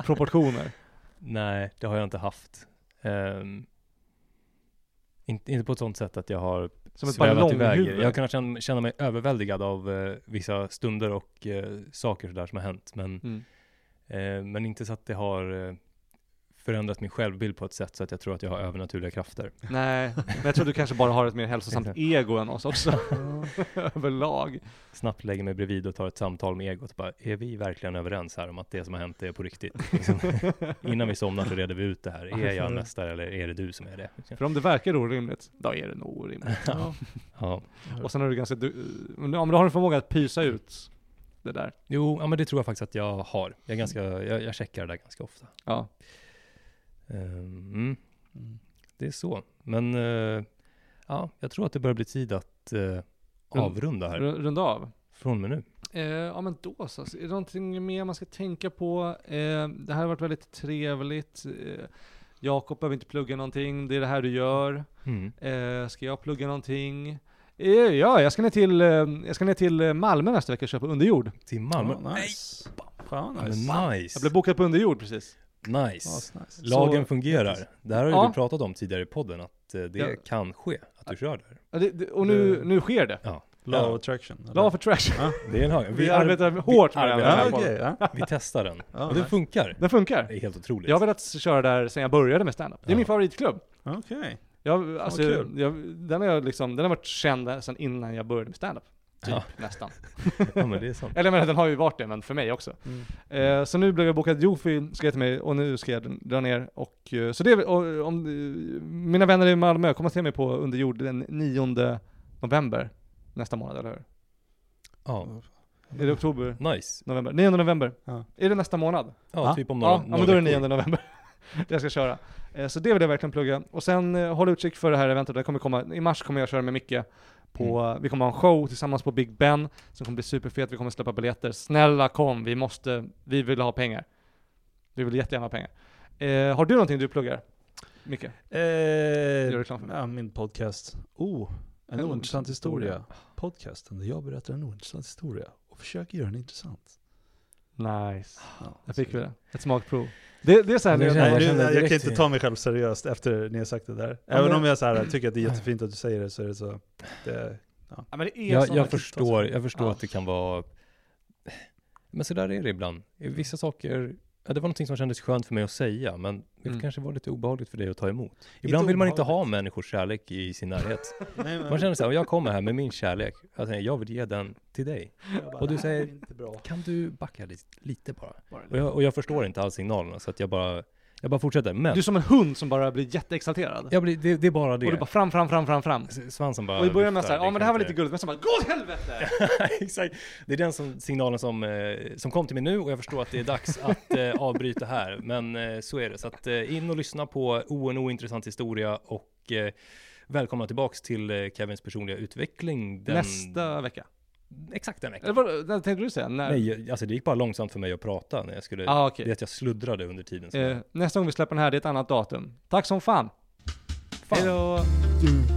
S3: proportioner.
S2: Nej, det har jag inte haft. Ehm, inte, inte på ett sånt sätt att jag har
S3: Som ett
S2: svävat iväg.
S3: ballonghuvud.
S2: Jag har kunnat känna, känna mig överväldigad av eh, vissa stunder och eh, saker där som har hänt. Men,
S3: Mm.
S2: eh, men inte så att det har eh, förändrat min självbild på ett sätt så att jag tror att jag har övernaturliga krafter.
S3: Nej, men jag tror du kanske bara har ett mer hälsosamt
S2: Exakt.
S3: ego än oss också. (laughs) Överlag.
S2: Snabbt lägger mig bredvid och tar ett samtal med egot. och Bara, är vi verkligen överens här om att det som har hänt är på riktigt? Liksom. Innan vi somnar så reder vi ut det här. Är
S3: Mm.
S2: jag en mästare eller är det du som är det?
S3: För om det verkar orimligt, då är det nog orimligt.
S2: Ja.
S3: Och sen är du ganska... Du, men ja, men då har du förmåga att pysa ut det där.
S2: Jo, ja, men det tror jag faktiskt att jag har. Jag, är ganska, jag, jag checkar det där ganska ofta.
S3: Ja.
S2: Ehm, mm. Det är så. Men eh, ja, jag tror att det börjar bli tid att eh, avrunda här.
S3: R- runda av.
S2: Från och med nu.
S3: Eh, ja men då så. Är det någonting mer man ska tänka på? Eh, det här har varit väldigt trevligt. Eh, Jakob behöver inte plugga någonting. Det är det här du gör.
S2: Mm.
S3: Eh, ska jag plugga någonting? Eh, ja, jag ska ner till, eh, jag ska ner till eh, Malmö nästa vecka och köpa underjord.
S2: Till Malmö.
S1: Ja, nice. Fan
S2: Men
S1: nice.
S2: nice.
S3: Jag blev bokad på underjord precis.
S2: nice.
S1: Ja, nice.
S2: Lagen
S3: Så-
S2: fungerar. Det här har ju
S3: Ja.
S2: du pratat om tidigare i podden, att eh, det
S3: Ja.
S2: kan ske, att du kör där.
S3: Ja, det, det, och nu,
S1: Det-
S3: nu sker det.
S2: Ja.
S1: Law of
S2: Ja.
S1: attraction. eller?
S3: Law of attraction.
S2: Det är en hög.
S3: Vi,
S2: Vi, ar-
S3: arbetar hårt med
S2: vi
S3: den
S1: Ja,
S3: här
S2: arbetar-
S1: okej.
S3: podden.
S1: ja.
S2: vi testar den.
S1: Ja,
S2: och den
S1: nice.
S2: funkar.
S3: Den funkar.
S2: Det är helt otroligt.
S3: Jag har velat köra där sedan jag började med standup. Det är
S2: Ja.
S3: min favoritklubb.
S1: Okej.
S3: Jag, alltså,
S1: vad kul.
S3: jag, den, har jag liksom, den har varit känd sedan innan jag började med standup. Typ,
S2: Ja.
S3: nästan.
S2: Ja, men det är sant.
S3: Eller jag menar, den har ju varit det, men för mig också.
S1: Mm.
S3: Eh, så nu blev jag bokad, Jofi ska till mig och nu ska jag dra ner. Och, eh, så det är, väl- och, om, eh, mina vänner i Malmö, kom och se mig på Underjord den 9 november nästa månad, eller hur?
S2: Ja.
S3: Är det oktober?
S2: Nice.
S3: November? 9 november.
S1: Ja.
S3: Är det nästa månad?
S2: Ja,
S1: Va?
S2: typ om några,
S3: Ja, ja, men då är det
S2: några
S3: 9
S2: veckor.
S3: november. (laughs) det jag ska köra. Eh, Så det vill jag verkligen plugga. Och sen eh, håll utkik för det här eventet. Det kommer komma, I mars kommer jag köra med Micke. På, Vi kommer ha en show tillsammans på Big Ben som kommer bli superfet. Vi kommer släppa biljetter. Snälla kom, vi måste, vi vill ha pengar. Vi vill jättegärna ha pengar. Eh, har du någonting du pluggar? Micke?
S1: Eh,
S3: Gör reklam för mig.
S1: ja, min podcast. Oh, en, ointressant historia. Podcasten där jag berättar en ointressant historia och försöker göra den intressant.
S3: Nice.
S1: Ja,
S3: Ah, Jag fick vi det. Ett smakprov. Det, det är så här,
S2: Det
S3: det,
S2: känns-
S1: Nej,
S2: jag
S1: det,
S2: känner
S1: jag,
S2: direkt
S1: kan inte
S2: i-
S1: ta mig själv seriöst efter ni har sagt det där.
S3: Ja,
S1: Även
S3: men-
S1: om jag så här, tycker att det är jättefint att du säger det så är det så. Det,
S3: ja, men det är
S2: Jag,
S3: såna- typ
S2: jag förstår, jag förstår
S3: Ja.
S2: att det kan vara... Men så där är det ibland. Vissa saker, ja, det var någonting som kändes skönt för mig att säga, men det
S3: Mm.
S2: kanske var lite obehagligt för dig att ta emot. Ibland vill man inte ha
S1: obehagligt.
S2: människors kärlek i
S3: (laughs)
S2: sin närhet.
S1: nej, men,
S2: Man känner så här, jag kommer här med min kärlek, jag, tänker, jag vill ge den till dig.
S1: jag bara,
S2: och du
S1: "Det här är
S2: säger-
S1: inte bra.
S2: Kan du backa lite, lite bara?
S3: Bara
S2: Och jag, och jag förstår inte alls signalerna, så att jag bara, jag bara fortsätter. Men
S3: Du är som en hund som bara blir jätteexalterad.
S2: jag blir, det, det är bara det.
S3: Och du bara fram, fram, fram, fram, fram.
S2: S- Svansen bara
S3: Och i början med
S2: viftar,
S3: såhär, ja men det här
S2: kan
S3: var
S2: inte-
S3: lite gulligt, men sen bara, gå åt helvete!
S2: (laughs) Exakt. Det är den som, signalen som, eh, som kom till mig nu och jag förstår att det är dags att eh, avbryta här. Men eh, så är det. Så att, eh, in och lyssna på ONO Intressant Historia och eh, välkomna tillbaks till eh, Kevins personliga utveckling. Den,
S3: Nästa vecka.
S2: Exakt den veckan.
S3: Eller vad vad tänkte du säga? När?
S2: Nej, jag- alltså det gick bara långsamt för mig att prata när jag skulle...
S3: Ah, okej.
S2: Det är att jag sluddrade under tiden. som
S3: Eh,
S2: jag-
S3: nästa gång vi släpper den här, det är ett annat datum. Tack som fan!
S2: Fan.
S3: Hejdå!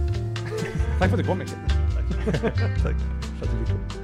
S3: (laughs) Tack för att du kom Micke.
S1: Tack för att du fick komma.